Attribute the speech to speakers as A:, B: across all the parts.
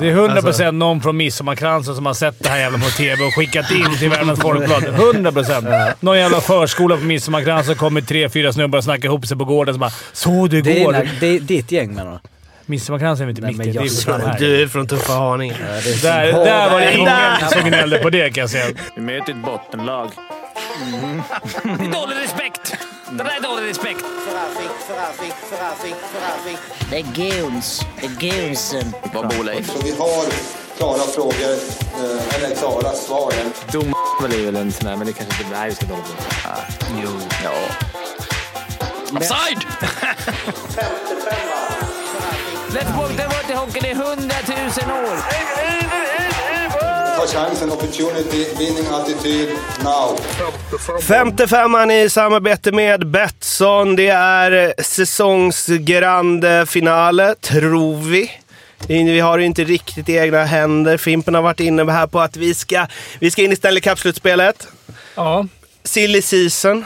A: Det är 100% någon från Midsommarkransen som har sett det här jävla på TV och skickat in till Värmlands Folkblad. 100%! Någon jävla förskola på Midsommarkransen kommer tre, fyra snubbar och snackar ihop sig på gården som bara “Såg du
B: Det är,
A: igår?”
B: dina, det är ditt gäng menar du?
A: Midsommarkransen är väl inte
B: Nej,
A: mitt
B: men
A: i? Det är
B: jag
A: för fan
B: såg
A: här.
C: Du är från tuffa Haninge.
A: Där, där var det
C: Där!
A: ingen som gnällde på det kan jag säga.
D: Vi möter ett bottenlag.
E: Dålig respekt! Det där är dålig respekt!
F: Det är guns. Det är gunsen.
D: Vad bor Leif?
G: Så vi har klara frågor, eh, eller klara svar.
H: Dom är väl en sån där, men det kanske inte... Nej, vi ska inte hålla på. Jo. Ja.
E: Offside! Let's det var till hockeyn i hundratusen år!
G: Ta chansen, opportunity, winning attityd, now.
C: 55an i samarbete med Betsson. Det är eh, säsongsgrande finale, tror vi. Vi har det inte riktigt i egna händer. Fimpen har varit inne här på att vi ska, vi ska in i Stanley Cup-slutspelet.
A: Ja,
C: Silly season.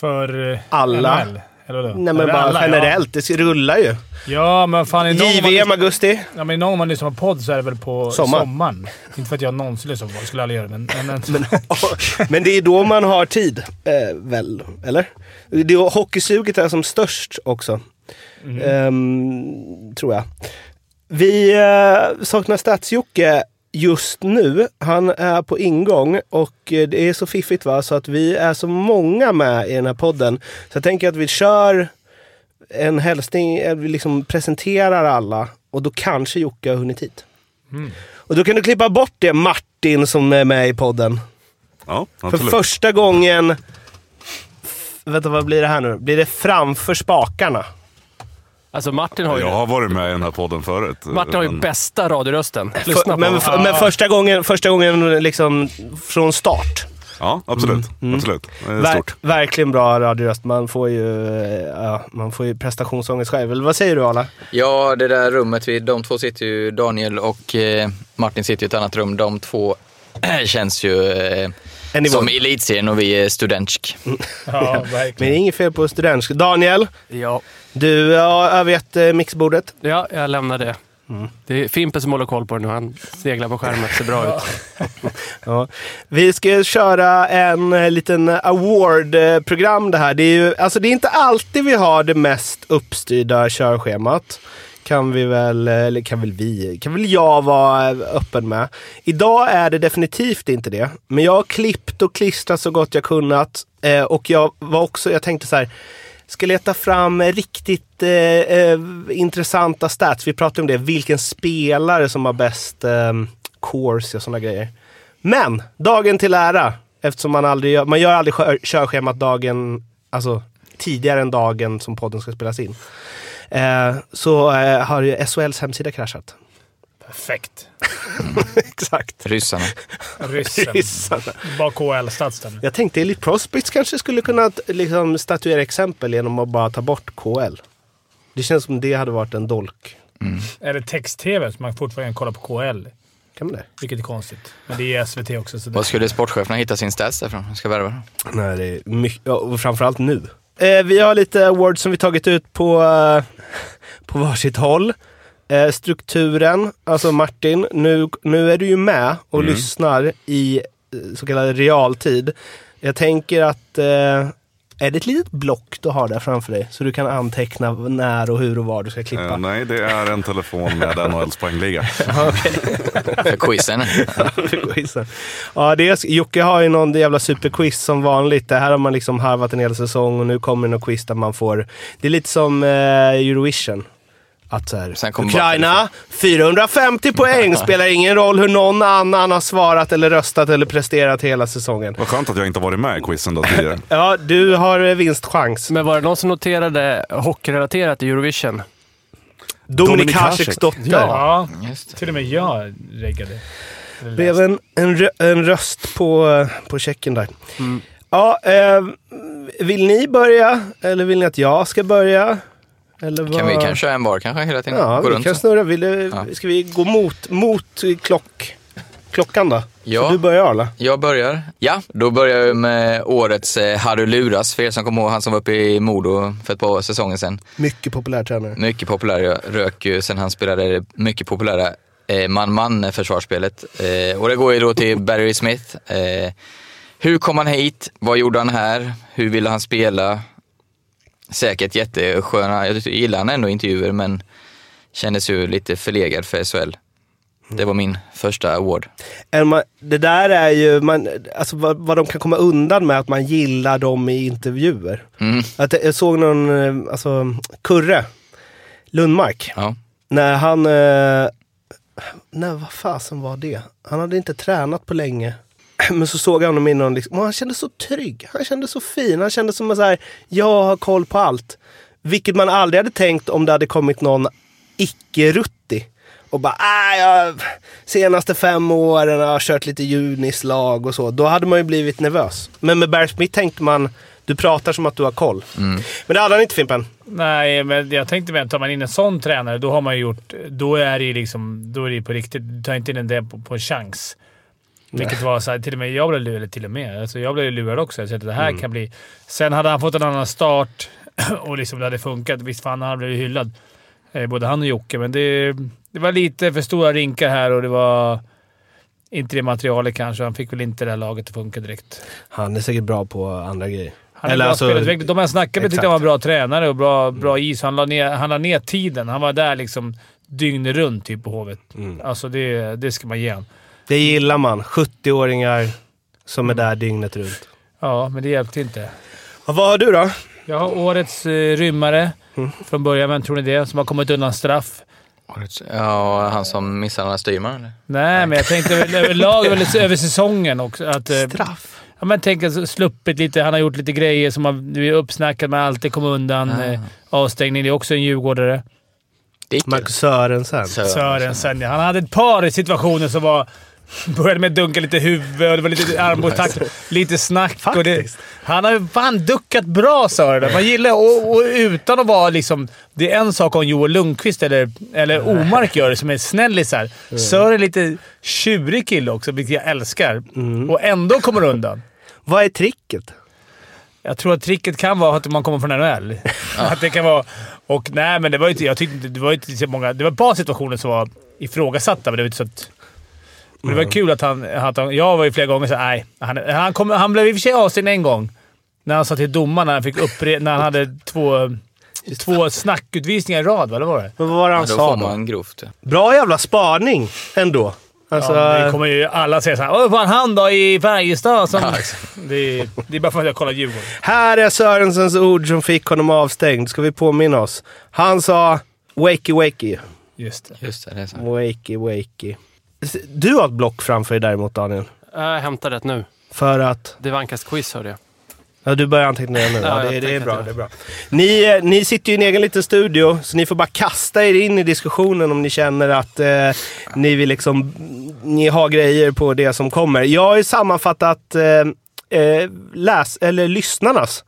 A: för... eh,
C: Alla.
A: NHL, Eller vadå?
C: Nej, men
A: Eller
C: bara
A: alla, ja.
C: generellt. Det rullar ju.
A: Ja, men fan är det någon man
C: JVM augusti.
A: Ja, men någon gång man lyssnar på podd så är det väl på
C: Sommar.
A: sommaren. Inte för att jag någonsin lyssnar på podd. skulle aldrig göra det. Men, men,
C: Men det är då man har tid, eh, väl? Eller? Det är, hockeysuget är som störst också. Ehm, tror jag. Vi eh, saknar stats just nu. Han är på ingång och eh, det är så fiffigt va, så att vi är så många med i den här podden. Så jag tänker att vi kör en hälsning, eh, vi liksom presenterar alla och då kanske Jocke har hunnit hit. Och då kan du klippa bort det Martin som är med i podden.
I: Ja,
C: För
I: absolut.
C: första gången... F- Vänta, vad blir det här nu? Blir det framför spakarna?
H: Alltså Martin har ju...
I: Jag har varit med i den här podden förut. Eh,
H: Martin har ju
I: Men-
H: bästa radiorösten. Lyssna
C: För,
H: på
C: men,
H: honom.
C: f- men första gången, första gången liksom från start.
I: Ja, absolut.
C: Mm.
I: absolut. Det är
C: Ver,
I: stort.
C: verkligen bra radioröst. Man får ju, eh, ja, man får ju prestationsångest själv. Eller vad säger du, Arla?
J: Ja, det där rummet, vi, de två sitter ju, Daniel och eh, Martin sitter i ett annat rum. De två känns ju eh,
C: En nivå. Mm.
J: som elitserien och vi är studentsk.
A: ja,
C: Men
A: verkligen.
C: det är inget fel på studentsk. Daniel,
H: Ja.
C: du har övergett eh, mixbordet.
H: ja, jag lämnar det. Det är Fimpen som håller koll på det nu. Han sneglar på skärmen. Ser bra ut.
C: Ja. Vi ska köra en eh, liten award-program det här. Det är ju, alltså det är inte alltid vi har det mest uppstyrda körschemat. Kan vi väl, eh, eller kan väl vi, kan väl jag vara eh, öppen med. Idag är det definitivt inte det. Men jag har klippt och klistrat så gott jag kunnat. Eh, och jag var också, jag tänkte så här. Ska leta fram riktigt eh, eh, intressanta stats. Vi pratade om det, vilken spelare som har bäst eh, course och sådana grejer. Men dagen till ära, eftersom man aldrig gör, man gör aldrig skör- körschemat dagen, alltså tidigare än dagen som podden ska spelas in. Eh, så eh, har ju SHLs hemsida kraschat.
A: Perfekt.
C: Exakt.
J: Ryssarna.
A: Ryssen.
C: Ryssarna.
A: Bara KL-stats den.
C: Jag tänkte Elite Prospects kanske skulle kunna t- liksom, statuera exempel genom att bara ta bort KL. Det känns som det hade varit en dolk.
A: Eller text-tv, så man fortfarande kan kolla på KL.
C: Kan man det?
A: Vilket är konstigt. Men det är SVT också. Så det...
J: Vad skulle sportcheferna hitta sin stats ifrån? Jag ska värva dem.
C: Nej, det är mycket, ja, och framförallt nu. Eh, vi har lite awards som vi tagit ut på, eh, på varsitt håll. Eh, strukturen, alltså Martin, nu, nu är du ju med och lyssnar i eh, så kallad realtid. Jag tänker att, eh, är det ett litet block du har där framför dig? Så du kan anteckna när och hur och var du ska klippa.
I: Eh, nej, det är en telefon med NHLs poängliga.
J: För quizen.
C: Quizen. ja, det är, Jocke har ju någon jävla superquiz som vanligt. Det här har man liksom harvat en hel säsong och nu kommer det något quiz där man får... Det är lite som eh, Eurovision. Att så här,
J: Sen kommer
C: Ukraina,
J: bara
C: 450 poäng! Spelar ingen roll hur någon annan har svarat eller röstat eller presterat hela säsongen.
I: Vad skönt att jag inte har varit med i quizen då tidigare.
C: Ja, du har eh, vinstchans.
H: Men var det någon som noterade hockeyrelaterat i Eurovision?
C: Dominik
I: Dominik
C: Hasiks
I: Hasek.
C: dotter.
A: Ja,
J: Just det.
A: till och med jag reggade.
C: blev en, en, rö, en röst på, eh, på checken där.
J: Mm.
C: Ja, eh, vill ni börja? Eller vill ni att jag ska börja? Eller vad?
J: Kan vi kan köra en var kanske hela tiden?
C: Ja,
J: Gå
C: vi
J: runt
C: kan
J: så.
C: snurra. Vill du,
J: Ja.
C: Ska vi gå mot, mot klock, klockan då?
J: Ja.
C: Så du börjar Arla.
J: Jag börjar. Ja, då börjar jag med årets eh, Harry Luras, för er som kommer ihåg han som var uppe i Modo för ett par säsonger sedan.
C: Mycket populär tränare.
J: Mycket populär. Jag rök ju sen han spelade det mycket populära eh, man-man försvarsspelet. Eh, och det går ju då till Barry Smith. Eh, hur kom han hit? Vad gjorde han här? Hur ville han spela? Säkert jättesköna, jag tyckte- gillar han ändå intervjuer men kändes ju lite förlegad för SHL. Det var min första award.
C: Än man, det där är ju, man, alltså vad, vad de kan komma undan med att man gillar dem i intervjuer.
J: Mm.
C: Att, jag såg någon, eh, alltså Kurre Lundmark,
J: Ja.
C: när han, eh, när vad fasen var det? Han hade inte tränat på länge. Men så såg jag honom innan liksom, och han kände så trygg, han kände så fin, han kände som en så här, jag har koll på allt. Vilket man aldrig hade tänkt om det hade kommit någon icke-ruttig. Och bara, ah, jag, senaste fem åren har jag kört lite junislag och så. Då hade man ju blivit nervös. Men med Bear Smith tänkte man, du pratar som att du har koll. Men det hade han inte Fimpen.
A: Nej, men jag tänkte väl tar man in en sån tränare, då har man ju gjort... Då är det ju liksom, då är det ju på riktigt. Du tar inte in en där på, på en chans. Vilket var så här, till och med jag blev lurad. Eller till och med. Alltså jag blev lurad också. Jag tänkte att det här kan bli... Sen hade han fått en annan start och liksom det hade funkat. Visst fan, han blev hyllad. Eh, Både han och Jocke, men det, det var lite för stora rinkar här och det var inte det materialet kanske. Han fick väl inte det här laget att funka direkt.
C: Han är säkert bra på andra grejer.
A: Han är bra spelutvecklare. De jag snackade med tyckte han var
C: alltså, Exakt.
A: en bra tränare och bra, bra is. Han la, ner, han la ner tiden. Han var där liksom dygnet runt typ på Hovet.
C: Mm.
A: Alltså det, det ska man ge han.
C: Det gillar man. 70-åringar som är där dygnet runt.
A: Ja, men det hjälpte inte.
C: Och vad har du då?
A: Jag har årets eh, rymmare
C: Mm.
A: från början. Vem tror ni det Som har kommit undan straff.
J: Ja, han som misshandlade styrman eller?
A: Nej, men jag tänkte över- överlag över, över säsongen också. Att, eh,
C: Straff.
A: Ja, men tänk alltså, sluppit lite. Han har gjort lite grejer som man nu är uppsnackad men alltid kom undan.
C: Ah.
A: Eh, avstängning. Det är också en djurgårdare.
J: Dickel.
C: Marcus Sörensen.
A: Sörensen, ja. Han hade ett par situationer som var... Började med att dunka lite huvud och det var lite armbågstackling. Lite snack. Och det,
C: Faktiskt.
A: han har ju fan duckat bra, Sören. Man gillar och, och utan att vara liksom... Det är en sak om Joel Lundqvist eller, eller Omark gör det, som är snällisar. Sören är lite tjurig kille också, vilket jag älskar. Och ändå kommer undan.
C: Vad är tricket?
A: Jag tror att tricket kan vara att man kommer från NHL. att det kan vara... Och nej, men det var ju inte... Jag tyckte inte- det var ju inte så många... Det var ett par situationer som var ifrågasatta, men det var inte så att... Men det var kul att han... Att han jag var ju flera gånger så här, nej. Han, han, kom, han blev i och för sig avstängd en gång. När han sa till domaren när han fick uppre... När han hade två... Två snackutvisningar i rad, va? eller vad var det?
C: Men vad var det han
J: Då
C: sa
J: får
C: då?
J: man grovt.
C: Bra jävla spaning ändå. Alltså,
A: Ja, det kommer ju alla säga såhär “Åh, fan han då i Färjestad?” som... det, är- det är bara för att jag kollar Djurgården.
C: Här är Sörensens ord som fick honom avstängd. Ska vi påminna oss? Han sa wakey wakey.
A: Just det.
J: Just det, det är så.
C: Wakey wakey. Du har ett block framför dig däremot Daniel.
H: Jag hämtar det nu.
C: För att...
H: Det var Ankas quiz hörde jag.
C: Ja, du börjar anteckna igen nu.
H: Ja,
C: Ja, det,
H: jag
C: det, är
H: tänkte
C: bra, det
H: att
C: är
H: jag-
C: bra. Ni, eh, ni sitter ju i en egen liten studio, så ni får bara kasta er in i diskussionen om ni känner att eh, ni vill liksom... Ni har grejer på det som kommer. Jag har ju sammanfattat eh, eh, läs, eller lyssnarnas.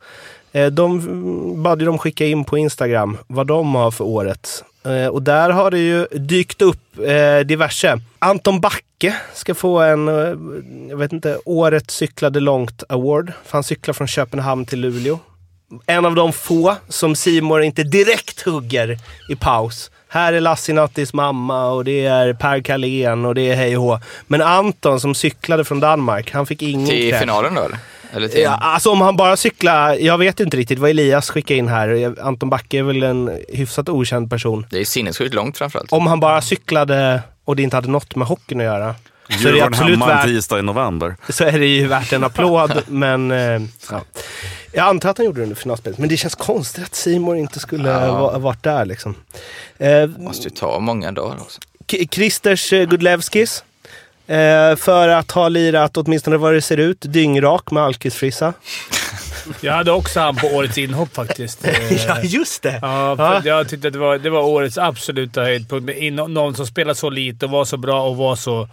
C: Eh, de mm, bad ju dem skicka in på Instagram vad de har för året. Eh, och där har det ju dykt upp eh, diverse. Anton Backe ska få en, eh, jag vet inte, Årets cyklade långt award. För han cyklar från Köpenhamn till Luleå. En av de få som Simor inte direkt hugger i paus. Här är Lassinattis mamma och det är Per Carlén och det är hej och hå. Men Anton som cyklade från Danmark, han fick ingen
J: Till
C: cred.
J: finalen då eller? eller till...
C: Ja, alltså om han bara cyklar, jag vet inte riktigt vad Elias skickade in här. Anton Backe är väl en hyfsat okänd person.
J: Det är sinnessjukt långt framförallt.
C: Om han bara cyklade och det inte hade något med hockeyn att göra. Så är, det
I: Djurgården
C: absolut
I: hemma en
C: värt,
I: tisdag i november.
C: så är det ju värt en applåd, men... Eh, ja. Jag antar att han gjorde det under finalspelet, men det känns konstigt att Simon inte skulle ha va, varit där liksom. Eh,
J: måste ju ta många dagar också.
C: K- Christers eh, Gudlevskis. Eh, för att ha lirat, åtminstone vad det ser ut, dyngrak med alkisfrissa.
A: Jag hade också han på årets inhopp faktiskt. Eh,
C: Ja, just det!
A: Ja,
C: Ja.
A: för jag tyckte att det var, det var årets absoluta höjdpunkt. Med in- någon som spelade så lite och var så bra och var så...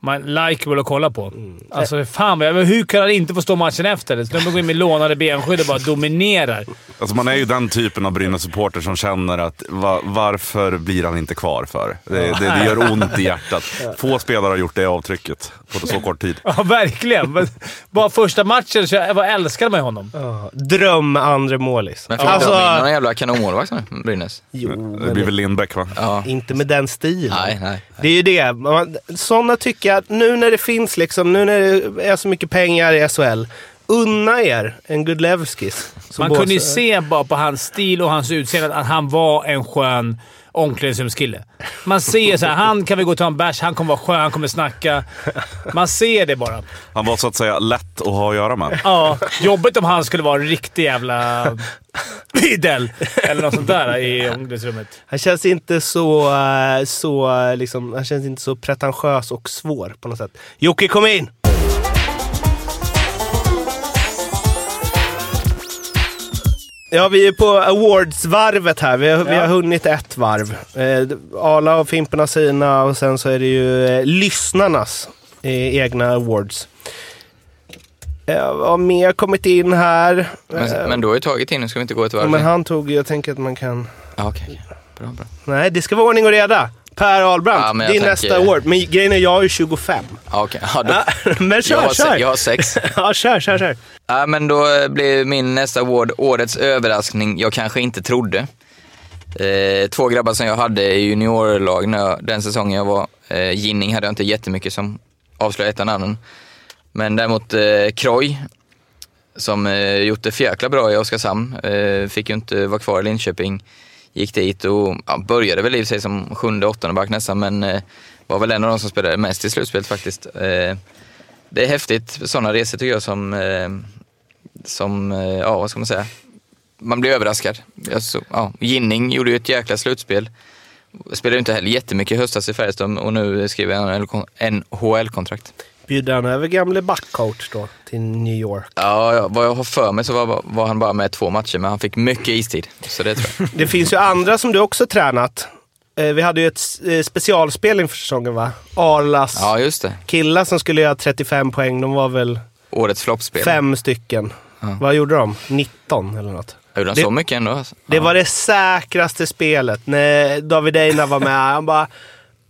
A: Man likeable att kolla på.
C: Mm.
A: Alltså fan vad jag, Hur kan han inte få stå matchen efter? Så de går in med lånade benskydd och bara dominerar.
I: Alltså man är ju den typen av Brynäs-supporter som känner att va, varför blir han inte kvar för? Det, det, det gör ont i hjärtat. Få spelare har gjort det avtrycket på så kort tid.
A: Ja, verkligen. Men Bara första matchen så jag, jag älskade man ju honom.
C: Ja, Dröm andre målis.
J: Men fick
C: Alltså,
J: de in någon jävla kanonmålvakt nu, Brynäs?
C: jo,
I: Det blir
C: men
I: väl Lindbäck va?
J: Ja.
C: inte med den stilen.
J: Nej, nej.
C: Det är ju det. Man- Sådana tycker jag, att nu när det finns liksom, nu när det är så mycket pengar i SHL, unna er en Gudlevskis. som
A: Man
C: bås-
A: kunde ju se bara på hans stil och hans utseende att han var en skön omklädningsrumskille. Man ser så här, han kan vi gå och ta en bärs, han kommer vara skön, han kommer snacka. Man ser det bara.
I: Han var så att säga lätt att ha att göra med.
A: Ja, jobbigt om han skulle vara en riktig jävla idel eller något sånt där i omklädningsrummet.
C: Han känns inte så, eh, så, eh, liksom, han känns inte så pretentiös och svår på något sätt. Jocke, kom in! Ja, vi är på awardsvarvet här. Vi har, vi har hunnit ett varv. Eh, Arla och Fimpen har sina och sen så är det ju eh, lyssnarnas eh, egna awards. Eh, vad har mer kommit in här? Eh,
J: Men, men du har ju tagit in, ska vi inte gå ett varv
C: Ja, men
J: till?
C: han tog, jag tänker att man kan...
J: Ja, okej. okej. Bra, bra.
C: Nej, det ska vara ordning och reda. Per Ahlbrandt,
J: Ja, men jag
C: det är
J: tänker-
C: nästa år. Men grejen är, jag är 25.
J: Ja, okej. Ja, då,
C: Ja, men
J: jag,
C: kör,
J: har, se-
C: kör!
J: jag har sex.
C: Ja, kör, kör, kör.
J: Ja, men då eh, blir min nästa award årets överraskning jag kanske inte trodde. Eh, två grabbar som jag hade i juniorlag när jag, den säsongen jag var. Eh, Ginning hade jag inte jättemycket som avslöjade ett av namnen. Men däremot eh, Kroj, som eh, gjort det förjäkla bra i Oskarshamn. Eh, fick ju inte vara kvar i Linköping. Gick dit och ja, började väl i och för sig som sjunde, åttonde back nästan, men eh, var väl en av de som spelade mest i slutspelet faktiskt. Eh, det är häftigt sådana resor tycker jag som, eh, som eh, ja vad ska man säga, man blir överraskad. Alltså, ja, Ginning gjorde ju ett jäkla slutspel. Spelade ju inte heller jättemycket i höstas i Färjestad och nu skriver han NHL-kontrakt.
C: Bjuder han över gamle backcoach då till New York?
J: Ja, ja, vad jag har för mig så var, var han bara med två matcher, men han fick mycket istid. Så det tror jag.
C: Det finns ju andra som du också tränat. Eh, Vi hade ju ett eh, specialspel inför säsongen, va? Arlas
J: Ja, just det.
C: killar som skulle göra 35 poäng, de var väl
J: Årets floppspel.
C: fem stycken. Vad gjorde de? 19 eller något.
J: Gjorde han
C: Det-
J: så mycket ändå? Alltså.
C: Det var det säkraste spelet när David Einar var med. Han bara...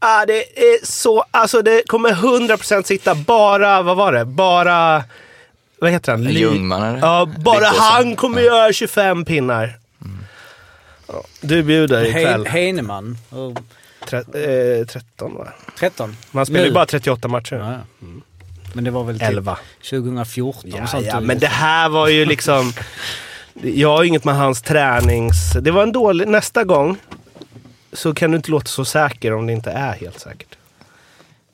C: Ah, det är så... Alltså det kommer 100% sitta bara... Vad var det? Bara... Vad heter han? Ly-
J: Ljungman eller?
C: Ja, bara
J: Lyckåsen.
C: han kommer göra 25 pinnar. Ja, Du bjuder
B: Hein-
C: ikväll.
B: Heinemann. Oh,
C: Tre, eh, 13 va?
B: 13.
C: Man spelar ju
B: Nu.
C: bara 38 matcher.
B: Ja, ja. Men det var väl typ
C: 11.
B: 2014 och
C: Ja,
B: sånt. typ.
C: ja, men det här var ju liksom... Jag har ju inget med hans tränings... Det var en dålig... Nästa gång så kan du inte låta så säker om det inte är helt säkert.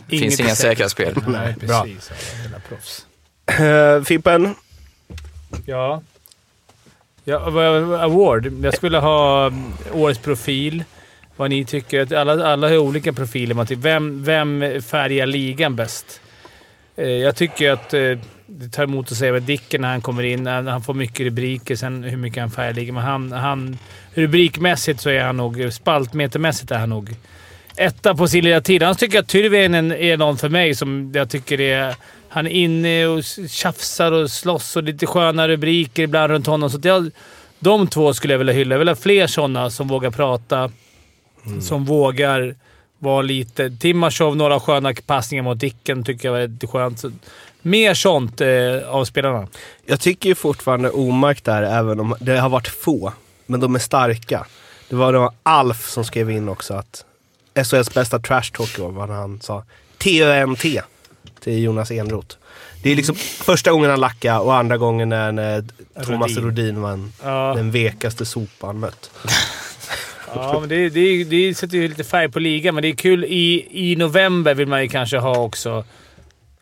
J: Det finns inga säkra spel.
A: Nej,
C: bra.
A: precis. Ja, jävla proffs.
C: Eh, Fimpen,
A: Ja. ja. vad- Award. Jag skulle ha mm, årets profil. Vad ni tycker. Att Alla, alla har olika profiler. Man tycker, vem, vem färgar ligan bäst? Eh, Jag tycker att eh, det tar emot att säga vad Dicken när han kommer in. Han, han får mycket rubriker, sen hur mycket han färgar ligan. Men han, han, rubrikmässigt så är han nog... Spaltmetermässigt är han nog etta på sin lilla tid. Annars tycker jag Tyrväinen är någon för mig som jag tycker är... Han är inne och tjafsar och slåss och lite sköna rubriker ibland runt honom. Så att jag, de två skulle jag vilja hylla. Jag vill ha fler sådana som vågar prata. Som vågar vara lite... Timashov, några sköna passningar mot Dicken tycker jag var lite skönt. Så, mer sånt eh, av spelarna.
C: jag tycker ju fortfarande omärkt där, även om det har varit få. Men de är starka. Det var, det var Alf som skrev in också att SHLs bästa trash talk var vad han sa. T-Ö-N-T till Jonas Enroth. Det är liksom första gången han lackade och andra gången när när Thomas
A: Rodin.
C: Rodin vann.
A: Ja,
C: Den vekaste sopan mött.
A: ja men det, det, det sätter ju lite färg på ligan, men det är kul. I, I november vill man ju kanske ha också...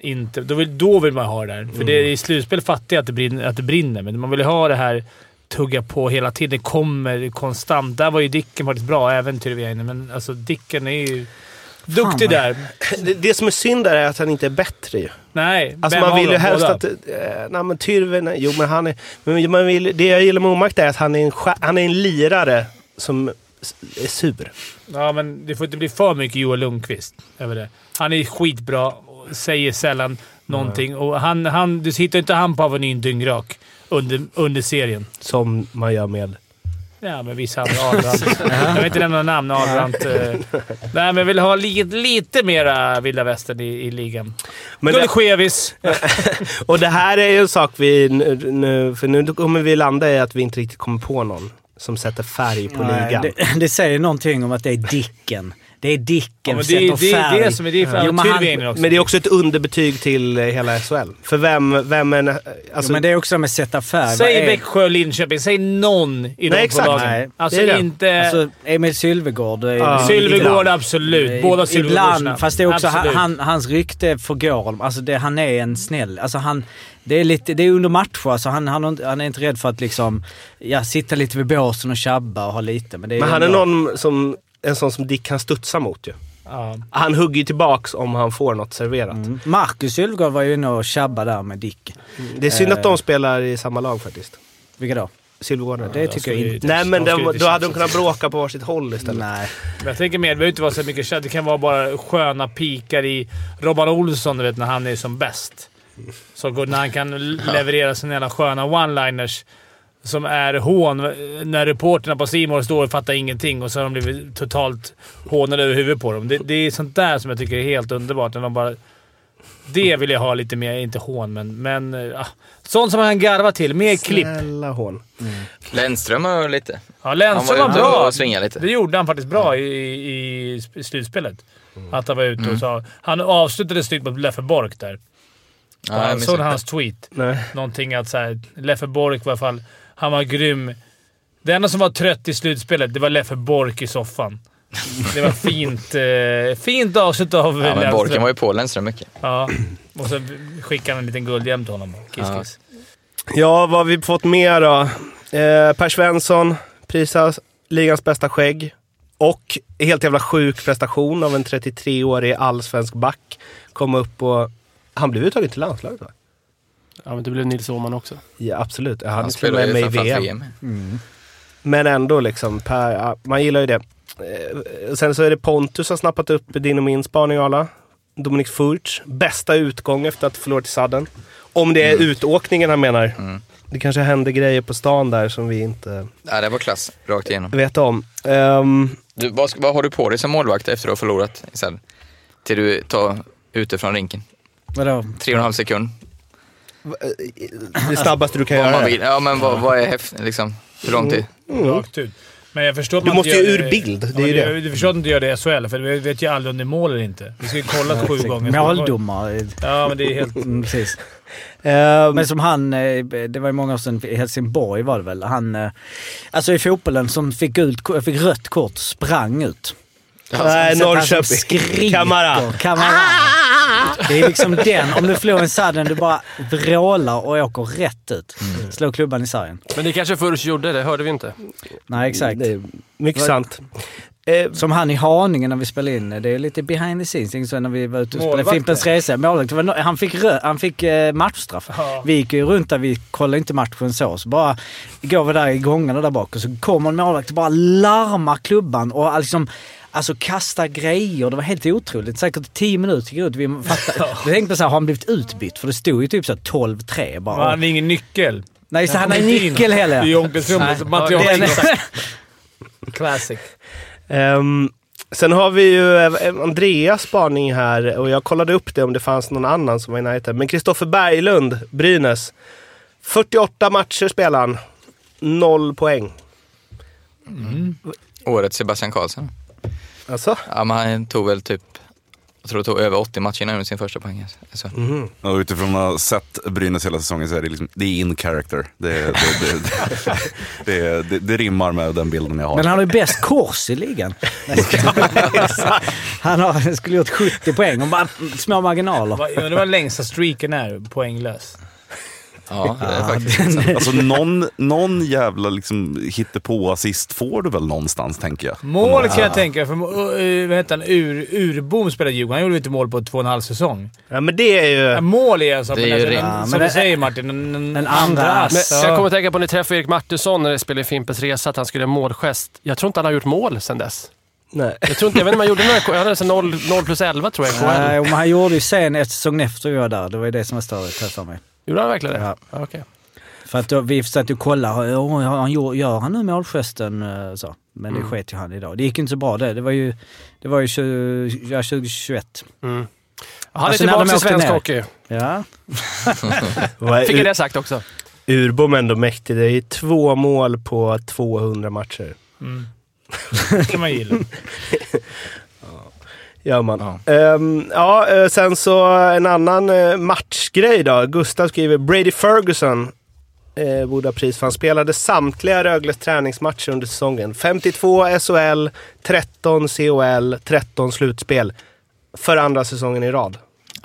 A: Inte, då, vill, då vill man ha det där. För det,
C: Mm.
A: i slutspel fattar jag att det, brinner, att det brinner, men man vill ju ha det här tugga på hela tiden. Det kommer konstant. Där var ju Dicken faktiskt bra, även Tyrväinen, men alltså Dicken är ju duktig
B: vad-
A: där.
C: Det, det som är synd där är att han inte är bättre ju.
A: Nej,
C: Alltså
A: vem
C: man
A: av
C: vill ju
A: dem?
C: helst
A: Båda?
C: att... Eh, nej men Tyrväinen... Jo men han är... Men man vill, det jag gillar med Omark är att han är en, stjär- han är en lirare som s- är sur.
A: Ja, men det får inte bli för mycket Joel Lundqvist över det. Han är skitbra, och säger sällan någonting. Och han, han, du hittar inte han på Avenyn dyngrak under, under serien.
C: Som man gör med...
A: Ja, men vissa andra. Ahlbrandt. jag vill inte nämna namn. Ahlbrandt. eh. Nej, men jag vill ha li- lite mera vilda västern i, i ligan.
C: Men det,
A: Gullegevis.
C: och det här är ju en sak vi... Nu, nu, för nu kommer vi landa i att vi inte riktigt kommer på någon som sätter färg på
B: Nej,
C: ligan.
B: Eh, Det, det säger någonting om att det är Dicken. Det är
A: Ja,
B: Dicken
A: men
B: som
A: det är-
B: sätter
A: det är
B: färg.
A: det som är- det är för-
B: Jo, men
A: tur
B: han-
A: vi är inne i också.
C: Men det är också ett underbetyg till eh, hela SHL. För vem... vem är,
B: Jo,
C: alltså,
B: men det är också med sätta färg. Vad
A: Säg
B: är-
A: Växjö och Linköping. Säg någon i de
C: Nej,
A: två
C: exakt.
B: Nej,
A: lagen.
B: det
A: Alltså
C: är det.
A: inte...
B: Alltså, Emil Sylvegård. är-
C: Ja.
A: Sylvegård,
B: ibland.
A: absolut. Båda Sylvegårdsnamn.
B: Eh, Ibland, fast det är också han,
A: Absolut.
B: han, hans rykte förgår. honom. Alltså det, han är en snäll... Alltså han, det, är lite, det är under matcher, alltså han, han, har inte- han är inte rädd för att liksom, ja, sitta lite vid båsen och tjabba och ha lite. Men, det är
C: men han är
B: ändå-
C: någon som... En sån som Dick kan studsa mot ju.
A: Ja.
C: Han hugger ju tillbaks om han får något serverat.
B: Mm, Marcus Sylvegård var ju inne och tjabbade där med Dick.
C: Det är synd
B: eh.
C: att de spelar i samma lag faktiskt.
B: Vilka då?
C: Silvergården.
B: Det
A: alltså,
B: tycker jag inte.
C: Nej, men
A: de ska
C: de,
A: ju inte
C: då hade de
A: tjafsa
C: kunnat bråka på varsitt håll istället.
B: Nej.
A: Men jag tänker mer, det behöver inte vara så mycket kött. Det kan vara bara sköna pikar i Robban Olsson, du vet, när han är som bäst. Så går- när han kan l- leverera sina jävla sköna one-liners som är hån. När reporterna på Simor står och fattar ingenting och så har de blivit totalt hånade över huvudet på dem. Det, det är sånt där som jag tycker är helt underbart. När de bara, det vill jag ha lite mer. Inte hån, men... men ah, sånt som man kan garva till. Mer klipp.
C: Snälla hon.
J: Lennström har lite.
A: Ja,
J: Han var
A: Lennström var,
J: ute
A: bra.
J: och svingade lite.
A: Det gjorde han faktiskt bra i, i, i slutspelet. Att han var ute
J: Mm.
A: och sa... Han avslutade snyggt mot Leffe Bork där.
J: Ja, jag
A: jag
J: minns
A: såg
J: inte.
A: hans tweet.
C: Nej.
A: Någonting att så här, Leffe Bork var i alla fall... Han var grym. Det enda som var trött i slutspelet, det var Leffe Bork i soffan. Det var fint, eh, fint avslut av
J: Ja, men
A: Lennström.
J: Borken var ju på Lennström mycket.
A: Ja. Och så skickade han en liten guldhjälm till honom. Kiss,
J: Ja.
A: kiss.
C: Ja, vad har vi fått mer då? Eh, per Svensson prisas ligans bästa skägg. Och helt jävla sjuk prestation av en 33-årig allsvensk back. Kom upp och... Han blev uttagen till landslaget va?
H: Ja, men det blev Nils Åhman också.
C: Ja, absolut. Ja, Han,
J: Han
C: spelar
J: spelade ju
C: med i
J: framförallt
C: VM.
J: VM.
C: Men ändå liksom, per, ja, man gillar ju det. Eh, Sen så är det Pontus som har snappat upp din och min spaning alla. Dominik Furch, bästa utgång efter att förlora till sadden. Om det är
J: Mm.
C: utåkningen han menar. Det kanske hände grejer på stan där som vi inte
J: Ja, det var klass rakt igenom.
C: vet om. Ehm,
J: Du, vad, ska- vad har du på dig som målvakt efter att ha förlorat i Sälen? Till du tar ute från rinken.
B: Vadå?
J: Tre och en halv sekund.
C: det snabbaste du kan
J: Alltså, Vad man
C: göra.
J: vill. Ja, men vad, vad är häftigt liksom? Hur lång tid?
A: Rakt ut. Men jag förstår att
C: Mm.
A: man
C: Du måste
A: inte
C: ju
A: gör
C: ur bild, det är
A: Ja,
C: ju
A: men Du,
C: det.
A: du förstår att du inte gör det i SHL, för vi vet ju aldrig om det är mål eller inte. Vi ska ju kolla sju gånger.
B: Måldomare.
A: Ja, men det är helt...
B: eh, Mm, precis.
C: Ehm,
B: Men som han, eh, det var ju många år sedan, i Helsingborg var det väl, han, eh, alltså i fotbollen, som fick, gult, ko- fick rött kort sprang ut.
C: nej,
J: Alltså,
B: Så att Alltså, han som
C: Norrköping.
B: skriker.
C: Kamara.
B: Kamara. Det är liksom den, om du förlorar en sadden, du bara vrålar och åker rätt ut. Slår klubban i sargen.
H: Men det kanske Furch gjorde, det hörde vi inte.
B: Nej, exakt.
C: Det är mycket
B: Vad-
C: sant.
A: Eh,
C: Ehm,
B: Som han i Haninge när vi spelade in, det är lite behind the scenes, liksom så när vi var ute och spelade
A: Målvakten.
B: Fimpens Resa. Målvakt, det var no- han fick, rö- han fick eh, matchstraff.
A: Ja.
B: Vi gick ju runt där, vi kollade inte matchen så. Så bara går vi där i gångarna där bak och så kommer en målvakt och bara larmar klubban och liksom Alltså kasta grejer, det var helt otroligt. Säkert 10 minuter gick ut. Vi fattade. Jag tänkte så här, har han blivit utbytt? För det stod ju typ så här 12-3 bara.
A: Man hade ingen nyckel.
B: Nej, så han har
A: kom inte in
B: nyckel heller.
A: I omklädningsrummet.
B: Nej.
A: Matti
B: Ja, det är-
A: Hansson. Classic.
C: Ehm, sen har vi ju eh, Andreas spaning här och jag kollade upp det om det fanns någon annan som var i närheten. Men Kristoffer Berglund, Brynäs. 48 matcher spelar han. Noll poäng.
J: Årets Sebastian Karlsson.
C: Alltså?
J: Ja, men han tog väl typ, jag tror det tog över 80 matcher innan han gjorde sin första poäng. Alltså.
I: Och utifrån att ha sett Brynäs hela säsongen så är det, liksom, det är in character. Det, det, det, det, det, det, det rimmar med den bilden jag har.
B: Men han har ju bäst kors i ligan. han har, skulle gjort 70 poäng och bara små marginaler.
A: Vad- Jag undrar vad längsta streaken är poänglös.
J: Ja, det är
B: Ja,
J: faktiskt
B: den-
J: sant.
I: Alltså någon, någon jävla liksom, hittepå-assist får du väl någonstans, tänker jag.
A: Mål kan jag tänka för uh, vad heter han? Ur, Urbom spelade i Djurgården. Han gjorde inte mål på två och en halv säsong.
C: Ja, men det är ju...
A: Mål är en sak,
J: Det är
A: men
J: ju
A: alltså,
J: rent.
A: en-
B: Ja,
A: som
B: men
A: du
B: det-
A: säger Martin, en, en,
B: en
A: andra
B: andra
A: ass.
B: ass.
A: Ja.
H: Men jag kommer att tänka på när jag träffade Erik Martinsson när det spelade i Fimpens Resa, att han skulle göra en målgest. Jag tror inte han har gjort mål sedan dess.
C: Nej.
H: Jag tror inte, jag vet inte om han gjorde några, han hade så 0, 0 plus 11 tror jag i
B: Nej,
H: KHL.
B: Eh, och men han gjorde ju sen ett säsong efter vi var där. Det var ju det som var störigt här för mig.
H: Gjorde han verkligen det?
B: Ja.
H: Ja. okej.
B: För att då, vi satt och kollade, "Åh, har han gör, gör han nu målgesten? eh, Så. Men det
J: Mm.
B: sket ju han idag. Det gick inte så bra det. Det var ju, det var ju 20, ja, 2021.
H: Han är
B: Alltså, när
H: tillbaka
B: de
H: till
B: åkte
H: svensk
B: ner.
H: hockey.
B: Ja.
C: Vad
H: Fick jag
C: är
H: det sagt också.
C: Urbom ändå mäktig. Det är ju två mål på 200 matcher.
A: Mm. Det kan man gilla.
C: Gör man.
J: Ja.
C: Ehm, ja, eh, sen så en annan eh, matchgrej då. Gustav skriver Brady Ferguson eh, borde ha pris för han spelade samtliga Rögles träningsmatcher under säsongen. 52 SHL, 13 CHL, 13 slutspel. För andra säsongen i rad.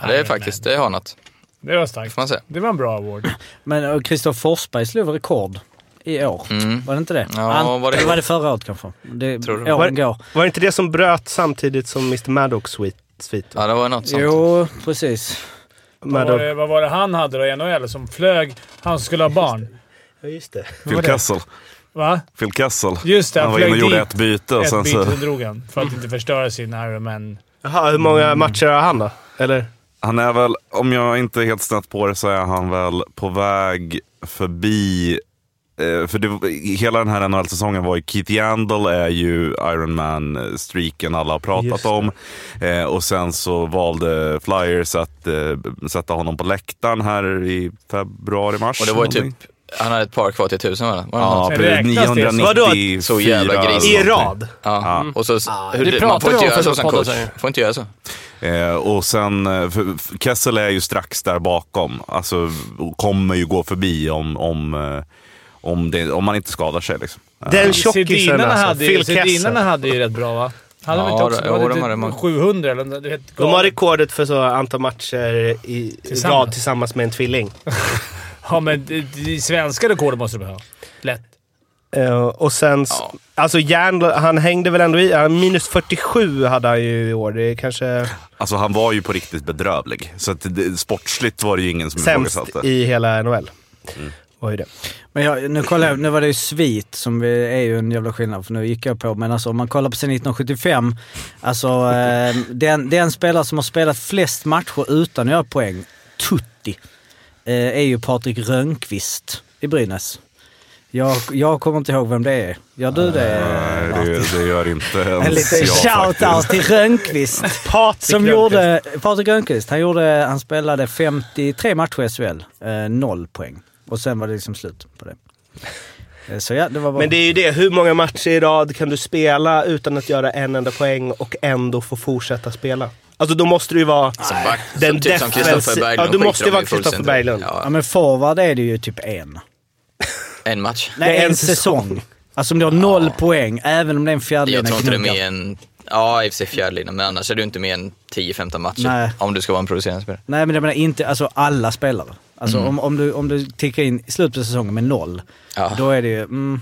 J: Ja, det är faktiskt, det har något.
A: Det var starkt.
J: Får man säga.
A: Det var en bra award.
B: Men och Kristoffer Forsberg slog rekord i år.
J: Mm.
B: Var det inte det?
J: Ja, var det-
B: eller var det förra året kanske? Det,
J: Tror det.
B: åren går.
C: Var det inte det som bröt samtidigt som Mr Maddox svit? svit va?
J: Ja, det var något sånt.
B: Jo, precis.
A: Vad var,
C: Maddox.
A: det, vad var det han hade då i NHL som flög? Han skulle ha barn.
C: Ja, just det.
I: Phil
A: var det?
I: Kessel.
A: Va?
I: Phil Kessel.
A: Just det,
I: Han
A: han
I: var inne
A: flög
I: och
A: dit.
I: gjorde ett byte och
A: ett
I: sen
A: byte,
I: så...
A: sen drog han. För att inte förstöra sin Iron Man.
C: Jaha, hur många
J: Mm.
C: matcher har han då? Eller?
I: Han är väl, om jag inte är helt snett på det, så är han väl på väg förbi... Eh, för det, hela den här NHL-säsongen var ju... Keith Yandel är ju Iron Man-streaken alla har
C: Just
I: pratat
C: det.
I: om. Eh, och sen så valde Flyers att eh, sätta honom på läktaren här i februari-mars.
J: Och det var ju typ,
I: någonting.
J: han hade ett par kvar till tusen var det? Var det
I: Ja,
J: något?
A: Men
I: precis.
A: räknas det?
I: 994.
J: Så jävla gris.
I: eller
C: I rad?
I: någonting.
J: Ja. Och så, hur,
H: Det
J: det
H: pratar
J: man får
H: vi
J: inte
H: om
J: göra så som
H: Fotbollspodden,
J: coach.
H: säger
J: Får inte göra så.
I: Eh, och sen, eh, för- för Kessel är ju strax där bakom. Alltså och kommer ju gå förbi om, om, eh, om, det, om man inte skadar sig. Liksom. Eh,
C: Den tjockisen
A: Sedinarna
C: alltså.
A: hade, ju-
C: Phil Kessel.
A: Sedinarna hade ju rätt bra va? Hade de
J: Ja,
A: inte också
J: det- jo,
A: de
J: de
A: hade
J: hade
A: typ
J: många.
A: 700 eller något, du vet,
C: De har rekordet för så antal matcher i
A: Tillsammans.
C: rad tillsammans med en tvilling.
A: Ja, men det- det svenska rekordet måste de ha. Lätt.
C: Eh, och sen... s-
J: Ja.
C: Alltså Järnl, han hängde väl ändå i. ja, minus 47 hade han ju i år. Det är
J: Mm,
C: kanske
I: Alltså han var ju på riktigt bedrövlig. Så att det, sportsligt var det ju ingen som
C: sämst
I: ifrågasatte.
C: i hela NHL.
J: Mm.
C: Var ju det.
B: Men jag, nu kollar jag, nu var det ju svit som vi, är ju en jävla skillnad för nu gick jag på. Men alltså om man kollar på sen 1975, alltså eh, den, den spelare som har spelat flest matcher utan att göra poäng, Tutti, eh, är ju Patrik Rönnqvist i Brynäs. Jag, jag kommer inte ihåg vem det är. Gör
I: Eh,
B: du det?
I: Nej, det, det gör inte ens
B: En liten
I: jag faktiskt.
B: shout-out till Rönnqvist.
C: Patrik
B: Som
C: Rönnqvist.
B: gjorde, Patrik Rönnqvist, han, gjorde, han spelade 53 matcher i SHL, eh, noll poäng. Och sen var det liksom slut på det. Eh, Så ja, det var bara...
C: Men det är ju det. Hur många matcher i rad kan du spela utan att göra en enda poäng och ändå få fortsätta spela? Alltså då måste du ju vara...
J: Som back,
C: Den
J: som, typ som
C: defensi-
J: Kristoffer Berglund.
C: Ja, du
J: skiter
C: måste
J: de i
C: vara Kristoffer
J: fullständigt.
C: Berglund.
B: ja,
J: Ja,
B: men forward är det ju typ en.
J: en match.
B: Nej,
C: Det är
B: en,
C: en
B: säsong. Alltså om du har noll poäng, även om det är en fjärdedel
J: Jag tror inte det är
B: knuggare.
J: med en... Ja, i och för sig fjärdelinan, men annars är du inte med en 10-15 matcher.
B: Nej.
J: Om du ska vara en producerande spelare.
B: Nej men jag menar inte, alltså alla spelare. Alltså
J: Mm.
B: om, om, du, om du tickar in i slutet av säsongen med noll,
J: Ja.
B: då är det ju... Mm,